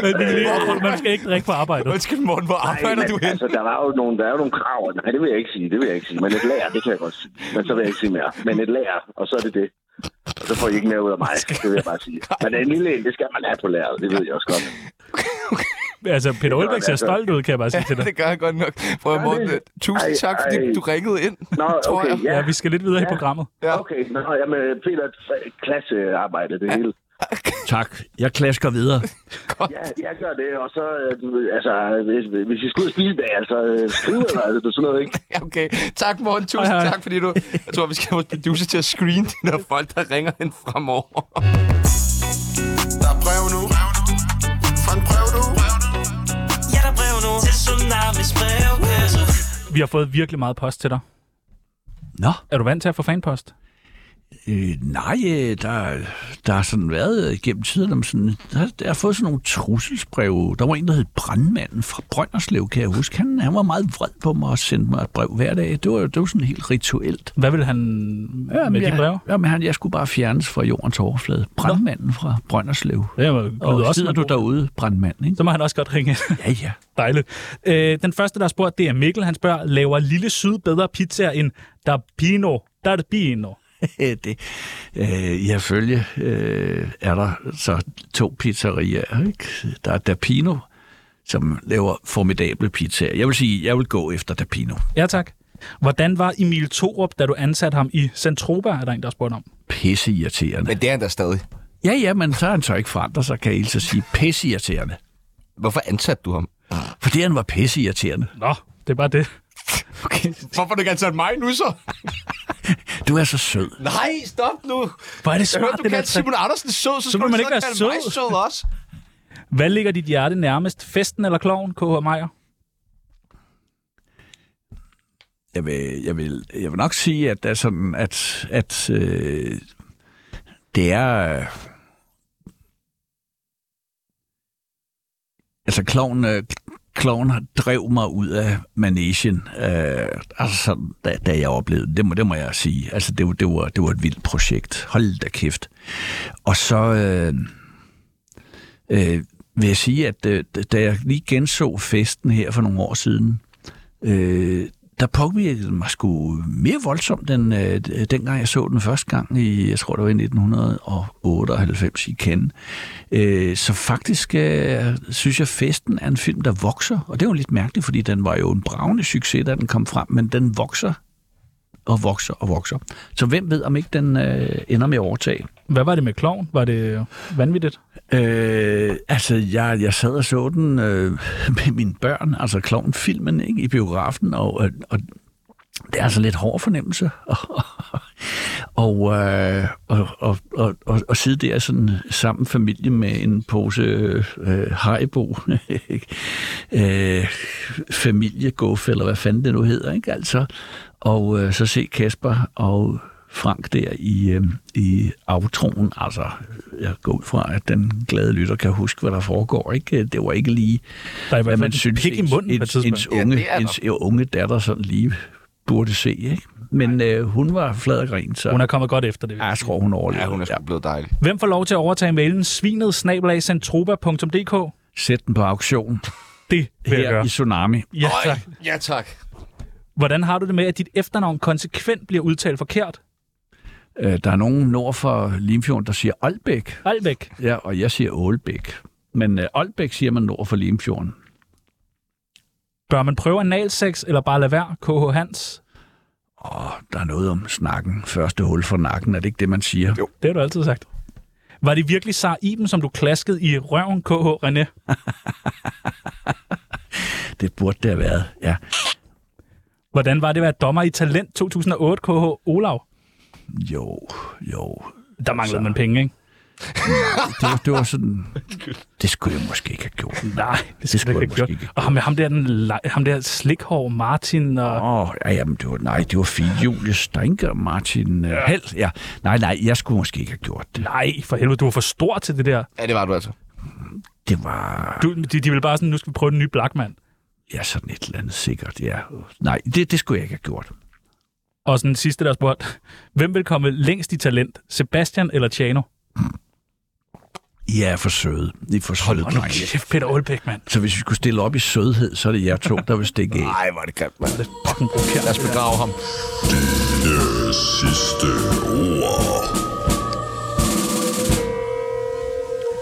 B: Men det er lige overfor, man skal ikke drikke på arbejdet.
A: Undskyld, Morten, hvor arbejder
J: men,
A: du hen?
J: altså, der var jo nogle, der er jo nogle krav. Nej, det vil jeg ikke sige, det vil jeg ikke sige. Men et lager, det kan jeg godt sige. Men så vil jeg ikke sige mere. Men et lager, og så er det det. Og så får I ikke mere ud af mig, det vil jeg bare sige. Men en lille en, det skal man have på lageret, det ved jeg også godt.
B: Altså, Peter Aalbæk ser stolt ud, kan jeg bare sige til dig.
A: Det gør jeg godt nok. Prøv at
J: Gør
A: Morten,
J: det?
A: øh, tusind
J: Ej,
A: tak, fordi
J: ej.
A: du ringede ind,
J: Nå,
A: tror
J: okay,
A: jeg.
J: ja.
B: Ja, vi skal lidt videre i programmet.
A: Ja.
J: Okay, nå, jamen, Peter, klassearbejde, det hele.
C: Tak. Jeg klasker videre.
J: Ja, jeg gør det, og så, øh, altså, hvis, hvis I skal ud og spise det, altså, øh, skriv eller altså, det er sådan noget, ikke?
A: Okay, tak Morten. Tusind
B: Hej,
A: hej,
B: hej.
A: hej. tak, fordi du... Jeg tror, vi skal have vores producer til at screene de der folk, der ringer ind fremover.
G: Der er brev nu. Fra en brev du.
H: Ja, der er brev nu til Tsunamis brevkasse.
B: Vi har fået virkelig meget post til dig.
C: Nå,
B: Er du vant til at få fanpost?
C: øh, nej, øh, der, der har sådan været øh, gennem tiden om sådan... Der, der har fået sådan nogle trusselsbreve. Der var en, der hed Brandmanden fra Brønderslev, kan jeg huske. Han, han var meget vred på mig og sendte mig et brev hver dag. Det var, det var sådan helt rituelt.
B: Hvad vil han med
C: jeg,
B: de breve?
C: Jamen, han, jeg skulle bare fjernes fra jordens overflade. Brandmanden fra Brønderslev.
B: Det er jo lyder
C: Og
B: også
C: sidder
B: som en
C: du
B: god-
C: derude, brandmand, ikke?
B: Så må han også godt ringe.
C: Ja, ja.
B: Dejligt. Øh, den første, der har spurgt, det er Mikkel. Han spørger, laver Lille Syd bedre pizzaer end Darbino? Darbino.
C: Øh, det, øh, I herfølge øh, er der så to pizzerier. Ikke? Der er Dapino, som laver formidable pizzaer. Jeg vil sige, jeg vil gå efter Dapino.
B: Ja, tak. Hvordan var Emil Thorup, da du ansatte ham i Centroba, er der en, der har spurgt om?
C: Pisse irriterende.
A: Men det er han da stadig.
C: Ja, ja, men så er han så ikke forandret, så kan jeg altså sige pisse irriterende.
A: Hvorfor ansatte du ham?
C: Fordi han var pisse irriterende.
B: Nå, det er bare det.
A: Okay. Hvorfor har du ikke ansat mig nu så?
C: Du er så sød.
A: Nej, stop nu.
B: Hvor er det
A: Jeg
B: smart,
A: hørte, du
B: det der
A: kaldte
B: trick.
A: Simon Andersen sød, så,
B: må
A: skulle
B: man
A: du
B: ikke
A: sidde og
B: være
A: kalde mig
B: sød.
A: sød også.
B: Hvad ligger dit hjerte nærmest? Festen eller kloven, K.H. Meier?
C: Jeg vil, jeg vil, jeg vil nok sige, at, det er sådan, at, at øh, det er... Øh, altså, kloven, øh, kloven har- drev mig ud af manesien, øh, altså sådan, da, da jeg oplevede det. det. Må, det må jeg sige. Altså, det, var- det, var, det var et vildt projekt. Hold da kæft. Og så... Øh, øh, vil jeg sige, at øh, da jeg lige genså festen her for nogle år siden, øh, der påvirkede den mig sgu mere voldsomt, end øh, dengang jeg så den første gang i, jeg tror det var i 1998 i Cannes. Øh, så faktisk øh, synes jeg, festen er en film, der vokser, og det er jo lidt mærkeligt, fordi den var jo en bravende succes, da den kom frem, men den vokser og vokser og vokser. Så hvem ved, om ikke den øh, ender med at overtage?
B: Hvad var det med kloven? Var det vanvittigt?
C: Øh, altså, jeg, jeg sad og så den øh, med mine børn, altså klovnfilmen, ikke, i biografen, og, øh, og det er altså lidt hård fornemmelse. og, øh, og, og, og, og, og sidde der sådan sammen familie med en pose øh, øh, haribo, ikke? øh, familieguff, eller hvad fanden det nu hedder, ikke altså. Og øh, så se Kasper og Frank der i, øh, i aftroen, altså jeg går ud fra, at den glade lytter kan huske, hvad der foregår, ikke? Det var ikke lige
B: Der er i
C: hvad
B: hvert
C: man
B: fald
C: synes,
B: pik i
C: ens,
B: munden på et
C: ens,
B: tidspunkt.
C: ens, unge,
A: det er
C: ja,
A: der.
C: ens unge datter sådan lige burde se. Ikke? Men øh, hun var flad og grin, så
B: Hun er kommet godt efter det.
C: ja, jeg tror, hun overlevede.
A: Ja, hun er sgu blevet dejlig.
B: Hvem får lov til at overtage mailen? Svinet snabel centroba.dk?
C: Sæt den på auktion
B: Det vil jeg
C: her
B: gøre.
C: i Tsunami.
B: Ja, tak.
A: ja, tak.
B: Hvordan har du det med, at dit efternavn konsekvent bliver udtalt forkert?
C: Øh, der er nogen nord for Limfjorden, der siger Olbæk,
B: Alvæk.
C: ja, og jeg siger Ålbæk. Men øh, Olbæk siger man nord for Limfjorden.
B: Bør man prøve analsex, eller bare lade være? KH Hans?
C: Åh, der er noget om snakken. Første hul for nakken, er det ikke det, man siger? Jo.
B: Det har du altid sagt. Var det virkelig Sar Iben, som du klaskede i røven, KH René?
C: Det burde det have været, ja.
B: Hvordan var det at være dommer i Talent 2008, KH Olav?
C: Jo, jo.
B: Der manglede man penge, ikke?
C: Det var, det var sådan... Det skulle jeg måske ikke have gjort.
B: Nej, det skal
C: skulle
B: du
C: jeg
B: ikke
C: måske
B: gøre.
C: ikke.
B: Og ham, ham der, den, le- ham der slikhår Martin og...
C: Åh, oh, ja, jamen, det var, nej, det var fint. Julie Steinke og Martin ja. Held. Ja. Nej, nej, jeg skulle måske ikke have gjort det.
B: Nej, for helvede, du var for stor til det der.
A: Ja, det var du altså.
C: Det var,
B: Du, de, de ville bare sådan, nu skal vi prøve den nye Blackman.
C: ja, sådan et eller andet sikkert, ja. Nej, det, det skulle jeg ikke have gjort.
B: Og sådan den sidste, der spurgte, hvem vil komme længst i talent? Sebastian eller Tjano?
C: I er for søde. I er for søde, drenge.
B: Kæft, Peter Olbæk, mand.
C: Så hvis vi skulle stille op i sødhed, så er det jer to, der vil stikke af.
A: Nej, hvor er det grimt, mand.
B: Fucking provokerende.
A: Lad os begrave ham.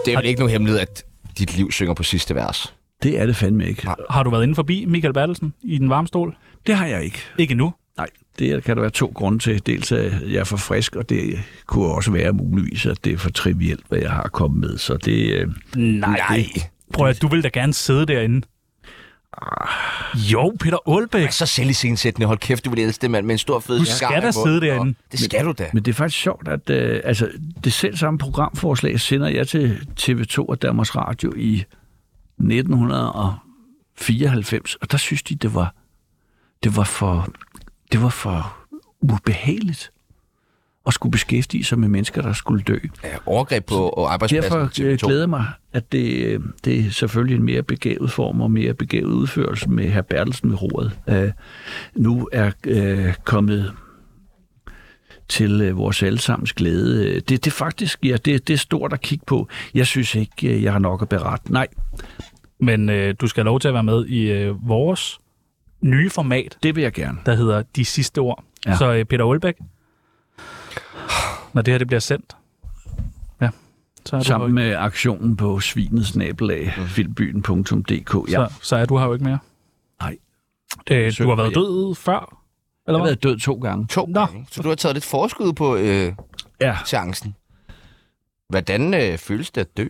A: Det er vel ikke nogen hemmelighed, at dit liv synger på sidste vers.
C: Det er det fandme ikke.
B: Har du været inde forbi Michael Bertelsen i den varme stol?
C: Det har jeg ikke.
B: Ikke nu.
C: Nej. Det kan der være to grunde til. Dels at jeg er for frisk, og det kunne også være muligvis, at det er for trivielt, hvad jeg har at komme med. Så det... Øh,
B: Nej. Prøv at du vil da gerne sidde derinde. Jo, Peter Aalbæk.
A: Så selv i sensættende. Hold kæft, du vil elske det, mand, med en stor fed
B: Du
A: cigar
B: skal
A: i
B: da
A: munden.
B: sidde derinde.
A: Nå, Det skal du da.
C: Men det er faktisk sjovt, at øh, altså, det selv samme programforslag sender jeg til TV2 og Danmarks Radio i 1994, og der synes de, det var, det var, for, det var for ubehageligt at skulle beskæftige sig med mennesker, der skulle dø.
A: Ja, overgreb på og arbejdspladsen.
C: Derfor øh,
A: TV2.
C: glæder jeg mig, at det, øh, det er selvfølgelig en mere begavet form og mere begavet udførelse med herr Bertelsen ved roret. Øh, nu er øh, kommet til øh, vores allesammens glæde. Øh, Det, det er faktisk, ja, det, det er stort at kigge på. Jeg synes ikke, øh, jeg har nok at berette. Nej,
B: Men øh, du skal have lov til at være med i øh, vores nye format,
C: det vil jeg gerne.
B: der hedder De Sidste Ord.
C: Ja.
B: Ja. Så øh, Peter Aalbæk, når det her det bliver sendt, ja, så er, du her,
C: Sammen
B: ikke-
C: med aktionen på svinets nabelag, filmbyen.dk. Ja,
B: Mm. så, så er du her jo ikke mere.
C: Nej.
B: Øh, du har været
C: Ja.
B: død før,
C: jeg
B: eller
C: har
B: hvad?
C: været død to gange.
A: To gange. Så du har taget lidt forskud på øh,
C: Ja.
A: chancen. Hvordan øh, føles det at dø?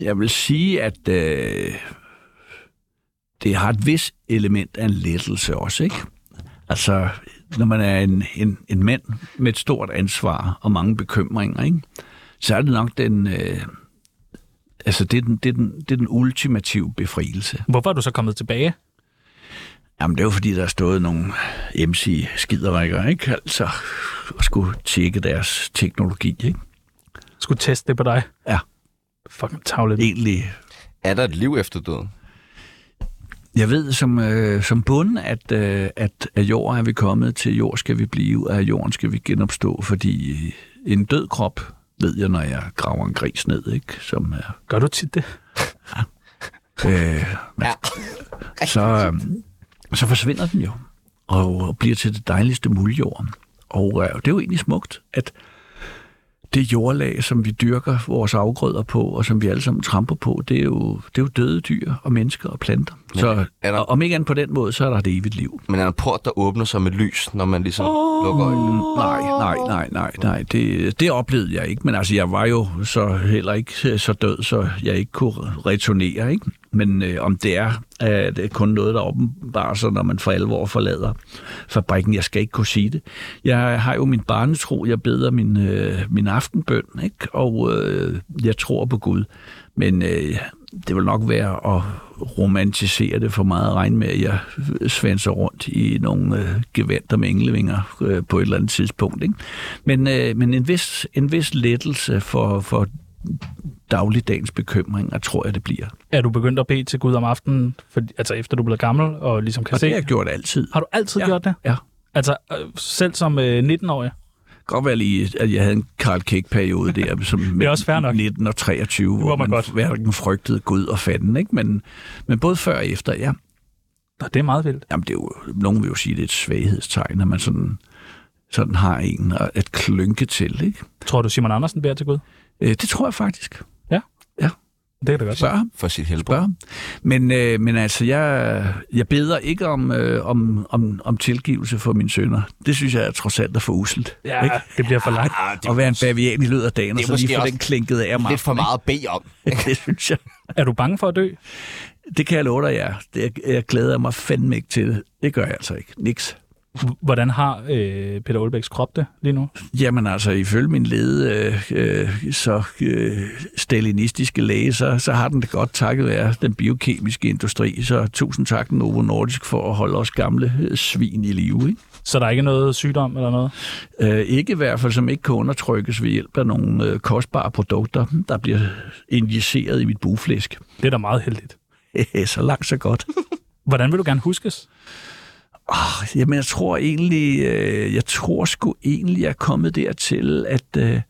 C: Jeg vil sige, at øh, det har et vis element af en lettelse også, ikke? Altså, når man er en, en, en mand med et stort ansvar og mange bekymringer, ikke? så er det nok den... Øh, altså, det er den, det, er den, det er den ultimative befrielse.
B: Hvorfor er du så kommet tilbage?
C: Jamen, det er jo fordi, der er stået nogle MC-skiderikker, ikke? Altså, og skulle tjekke deres teknologi, ikke?
B: Skulle teste det på dig?
C: Ja.
B: Fucking tavlet.
C: Egentlig
A: Er der et liv efter døden?
C: Jeg ved som, øh, som bund, at, øh, at af jord er vi kommet, til jord skal vi blive, og af jorden skal vi genopstå, fordi øh, en død krop, ved jeg, når jeg graver en gris ned, ikke? Som er,
B: Gør du tit det?
C: øh,
A: Ja.
C: så, øh, så forsvinder den jo, og bliver til det dejligste muldjord. Og øh, det er jo egentlig smukt, at det jordlag, som vi dyrker vores afgrøder på, og som vi alle sammen tramper på, det er jo, det er jo døde dyr og mennesker og planter. Så
A: er der-
C: og om ikke andet på den måde, så er der et evigt liv.
A: Men er der en port, der åbner sig med lys, når man ligesom oh. lukker øjnene?
C: Nej, nej, nej, nej, nej. Det, det oplevede jeg ikke, men altså, jeg var jo så heller ikke øh, så død, så jeg ikke kunne returnere, ikke? Men øh, om det er, øh, det er kun noget, der åbenbarer sig, når man for alvor forlader fabrikken. Jeg skal ikke kunne sige det. Jeg har jo min barnetro, jeg beder min, øh, min aftenbøn, ikke? Og øh, jeg tror på Gud. Men øh, det vil nok være at romantisere det for meget og regne med, at jeg svanser rundt i nogle øh, gevanter med englevinger øh, på et eller andet tidspunkt. Ikke? Men, øh, men en, vis, en vis lettelse for, for dagligdagens bekymringer, tror jeg, det bliver.
B: Er du begyndt at bede til Gud om aftenen, for, altså efter du blev gammel og ligesom kan
C: Og
B: se?
C: det har jeg gjort altid.
B: Har du altid
C: Ja.
B: ja. gjort det?
C: Ja.
B: Altså, øh, selv som øh, 19-årig?
C: Godt være lige, at jeg havde en Karl Kæk-periode der, som det
B: også fair nok.
C: 19 og 23,
B: må
C: hvor
B: man
C: man
B: godt.
C: hverken frygtede Gud og fanden, ikke? Men, men både før og efter, ja.
B: Nå, det er meget vildt.
C: Jamen, det er jo, nogen vil jo sige, det er et svaghedstegn, at man sådan, sådan har en at- at klynke til, ikke?
B: Tror du, Simon Andersen beder til Gud?
C: Øh, Det tror jeg faktisk.
B: Det kan da godt.
C: Spørg ham.
A: For sit helbred.
C: Spørg ham. Men, øh, men altså, jeg, jeg beder ikke om, øh, om, om, om tilgivelse for mine sønner. Det synes jeg er trods alt er for uselt.
B: Ja, ikke? det bliver for langt.
A: Ah, det
C: At være en bavian i løbet af dagen, og
A: det er
C: så lige
A: måske
C: få
A: også
C: den klinket af mig.
A: er lidt for meget at bede om.
C: Det synes jeg.
B: Er du bange for at dø?
C: Det kan jeg love dig, jeg. Det, jeg, jeg glæder mig fandme ikke til det. Det gør jeg altså ikke. Niks.
B: H- Hvordan har øh, Peter Aalbæks krop det lige nu?
C: Jamen altså, ifølge min lede, øh, øh, så øh, stalinistiske læge, så, så har den det godt takket være den biokemiske industri. Så tusind tak Novo Nordisk for at holde os gamle øh, svin i live. Ikke?
B: Så der er ikke noget sygdom eller noget?
C: Øh, ikke i hvert fald, som ikke kan undertrykkes ved hjælp af nogle øh, kostbare produkter, der bliver injiceret i mit bugflæsk.
B: Det er da meget heldigt.
C: så langt, så godt.
B: Hvordan vil du gerne huskes?
C: Ah, Jamen, jeg tror egentlig, øh, jeg tror sgu egentlig, jeg er kommet dertil, at øh,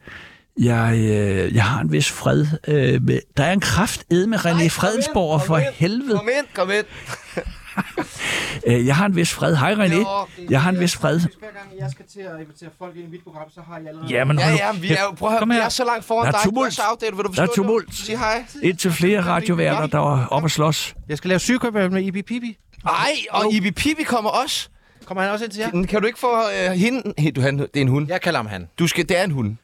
C: jeg, øh, jeg har en vis fred. Øh, med, der er en kraft med René Fredensborg, for helvede.
A: Kom ind, kom ind.
C: Øh, jeg har en vis fred. Hej René. Jeg har en vis fred.
K: Hver gang jeg skal til at invitere folk ind i mit program, så har jeg allerede...
C: Jamen,
K: ja,
C: hold nu
K: ja, vi
C: kæft.
K: er jo... Prøv at høre,
C: Kom
K: vi
C: her.
K: er så langt foran
C: Der
K: dig.
C: er tumult.
K: Du er så outdated, vil du
C: Der er
K: forstå det nu?
C: tumult.
K: Sig hej.
C: Indtil flere radioværter, der var op at slås.
K: Jeg skal lave sygekøb med Ibi Pibi.
A: Nej, og Ibi Pibi kommer også.
K: Kommer han også ind til jer?
A: Kan, kan du ikke få øh, hende? He- Du, han, det er en hund.
K: Jeg kalder ham han.
A: Du skal, det er en hund.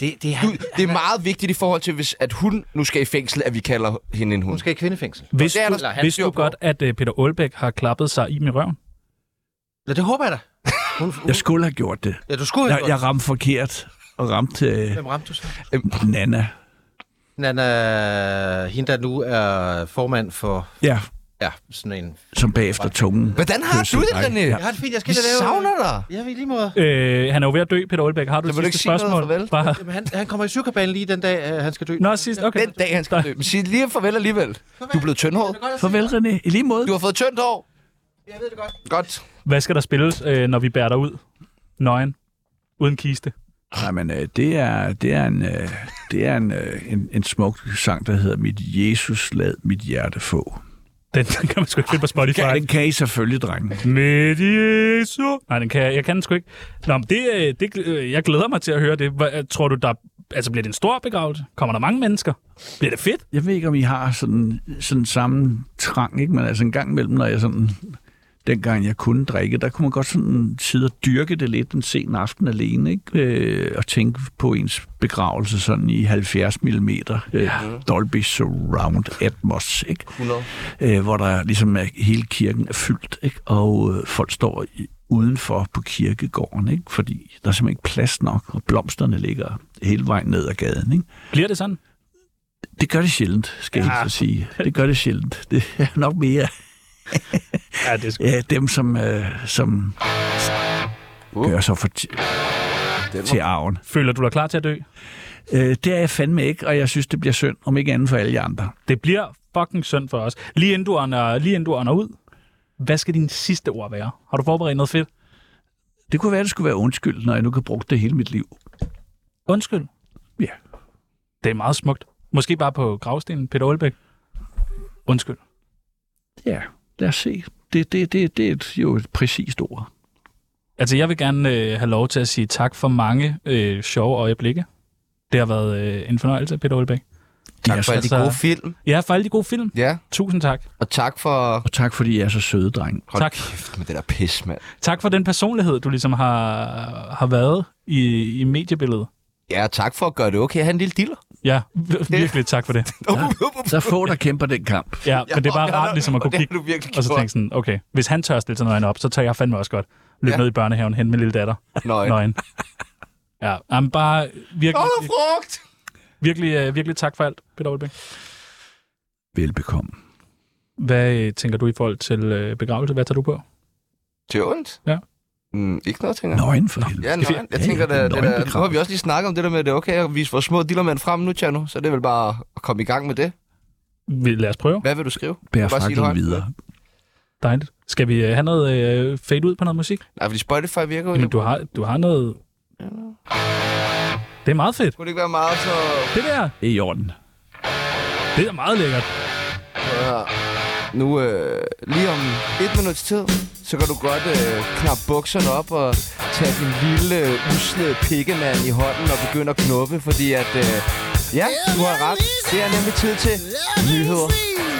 K: Det, det, er,
A: du, det er meget vigtigt i forhold til, hvis, at hun nu skal i fængsel, at vi kalder hende en hund. Hun
K: skal i kvindefængsel.
B: Hvis
A: det er
B: du,
A: der,
B: hvis du godt, at øh, Peter Aalbæk har klappet sig i med røven?
K: Ja, det håber jeg da.
C: Jeg skulle have gjort det.
K: Ja, du skulle have
C: jeg,
K: gjort
C: jeg ramte forkert og ramte øh,
K: Hvem ramte du så?
C: Nana.
K: Nana, hende der nu er formand for...
C: Ja,
K: Ja, sådan en...
C: som bagefter tungen.
K: Hvordan har
C: kysser
K: du det,
C: mig.
K: René? Jeg har det fint, jeg skal
A: Vi
K: da lave...
A: savner dig.
K: Ja, vi er lige måde.
B: Øh, han er jo ved at dø, Peter Aalbæk. Har du
A: Så
B: et
A: vil du
B: sidste
A: ikke sige noget
B: spørgsmål? Bare...
K: Jamen, han, han kommer i sygekabalen lige den dag, øh, han skal dø.
B: Nå, sidst, okay.
A: Den dag, han skal dø. Men sig lige farvel alligevel. Du er blevet tyndhåret.
C: Farvel, René. I lige måde.
A: Du har fået tyndt hår.
K: Jeg ved det godt.
A: Godt.
B: Hvad skal der spilles, øh, når vi bærer dig ud? Nøgen. Uden kiste.
C: Nej, men øh, det er, det er, en, øh, det er en, øh, en, en smuk sang, der hedder Mit Jesus lad mit hjerte få.
B: Den, den kan man sgu ikke finde på Spotify.
C: Den kan I selvfølgelig, drenge.
B: Med Jesu. Nej, den kan jeg, jeg kan den sgu ikke. Nå, men det, øh, det, øh, jeg glæder mig til at høre det. Hvad, tror du, der altså, bliver det en stor begravelse? Kommer der mange mennesker? Bliver det fedt?
C: Jeg ved ikke, om I har sådan, sådan samme trang, ikke? men altså en gang imellem, når jeg sådan... Dengang jeg kunne drikke, der kunne man godt sådan sidde og dyrke det lidt en sen aften alene, ikke? Øh, og tænke på ens begravelse sådan i 70 mm øh, Dolby Surround Atmos, ikke?
A: 100.
C: Øh, hvor der ligesom er, hele kirken er fyldt, ikke? Og øh, folk står i, udenfor på kirkegården, ikke? Fordi der er simpelthen ikke plads nok, og blomsterne ligger hele vejen ned ad gaden, ikke?
B: Bliver det sådan?
C: Det gør det sjældent, skal ja. jeg så sige. Det gør det sjældent. Det er nok mere
B: Ja, det er sgu...
C: ja, dem, som, øh, som uh. gør sig for til arven.
B: Føler du dig klar til at dø?
C: Øh, det er jeg fandme ikke, og jeg synes, det bliver synd, om ikke andet for alle jer andre.
B: Det bliver fucking synd for os. Lige inden du ånder, lige inden du ånder ud, hvad skal dine sidste ord være? Har du forberedt noget fedt?
C: Det kunne være, det skulle være undskyld, når jeg nu kan bruge det hele mit liv.
B: Undskyld.
C: Ja.
B: Det er meget smukt. Måske bare på gravstenen, Peter Aalbæk. Undskyld.
C: Ja, lad os se. Det, det, det, det er et, jo et præcist ord.
B: Altså, jeg vil gerne øh, have lov til at sige tak for mange øh, sjove øjeblikke. Det har været øh, en fornøjelse, Peter Aalbæk.
A: Tak for
B: altså-
A: alle de gode film.
B: Ja, for alle de gode film.
A: Ja,
B: Tusind tak.
A: og tak for...
C: Og tak, fordi I er så søde, dreng.
A: Hold
B: Tak.
A: kæft med det der pis, mand.
B: Tak for den personlighed, du ligesom har, har været i, i mediebilledet.
A: Ja, og tak for at gøre det okay. Han en lille diller.
B: Ja, vir- virkelig tak for det.
C: Der er få, der kæmper den kamp.
B: Ja, men det er bare
A: Ja,
B: rart ligesom at kunne
A: og det har
B: kigge
A: du virkelig
B: og så
A: gjort.
B: tænke sådan, okay, hvis han tør stille sig nøgen op, så tager jeg fandme også godt. Løb
A: Ja.
B: ned i børnehaven, hen med lille datter.
A: Nøj.
B: Nøgen. Ja, jamen bare virkelig,
A: Åh, frugt!
B: virkelig, øh, virkelig tak for alt, Peter Aalbæk.
C: Velbekomme.
B: Hvad øh, tænker du i forhold til øh, begravelse? Hvad tager du på?
A: Til ondt?
B: Ja.
A: Mm, ikke noget, tænker jeg.
C: Nøgen for helvede.
A: Ja, nøgen. Jeg tænker,
C: ja,
A: det, det der, nu
C: nøgenbegravelse.
A: har vi også lige snakket om det der med, at det er okay at vise vores små dillermænd frem nu, Tjerno. Så det er vel bare at komme i gang med det.
B: Vi- Lad os prøve.
A: Hvad vil du skrive?
C: Bær
A: Bare sig det
C: frakken
A: højt.
C: videre.
B: Dejligt. Skal vi øh, have noget øh, fade ud på noget musik?
A: Nej, fordi Spotify virker jo
B: Jamen,
A: ikke.
B: du har, du har noget... Det er meget fedt.
A: Kunne det ikke være meget så...
B: Det der,
C: Det er i orden.
B: det er meget lækkert.
A: Prøv at høre. Nu øh, lige om et minuts tid, så kan du godt øh, knappe bukserne op og tage din lille, øh, usle pikkemand i hånden og begynde at knuppe, fordi at... Øh, ja, du har ret. Det er nemlig tid til nyheder.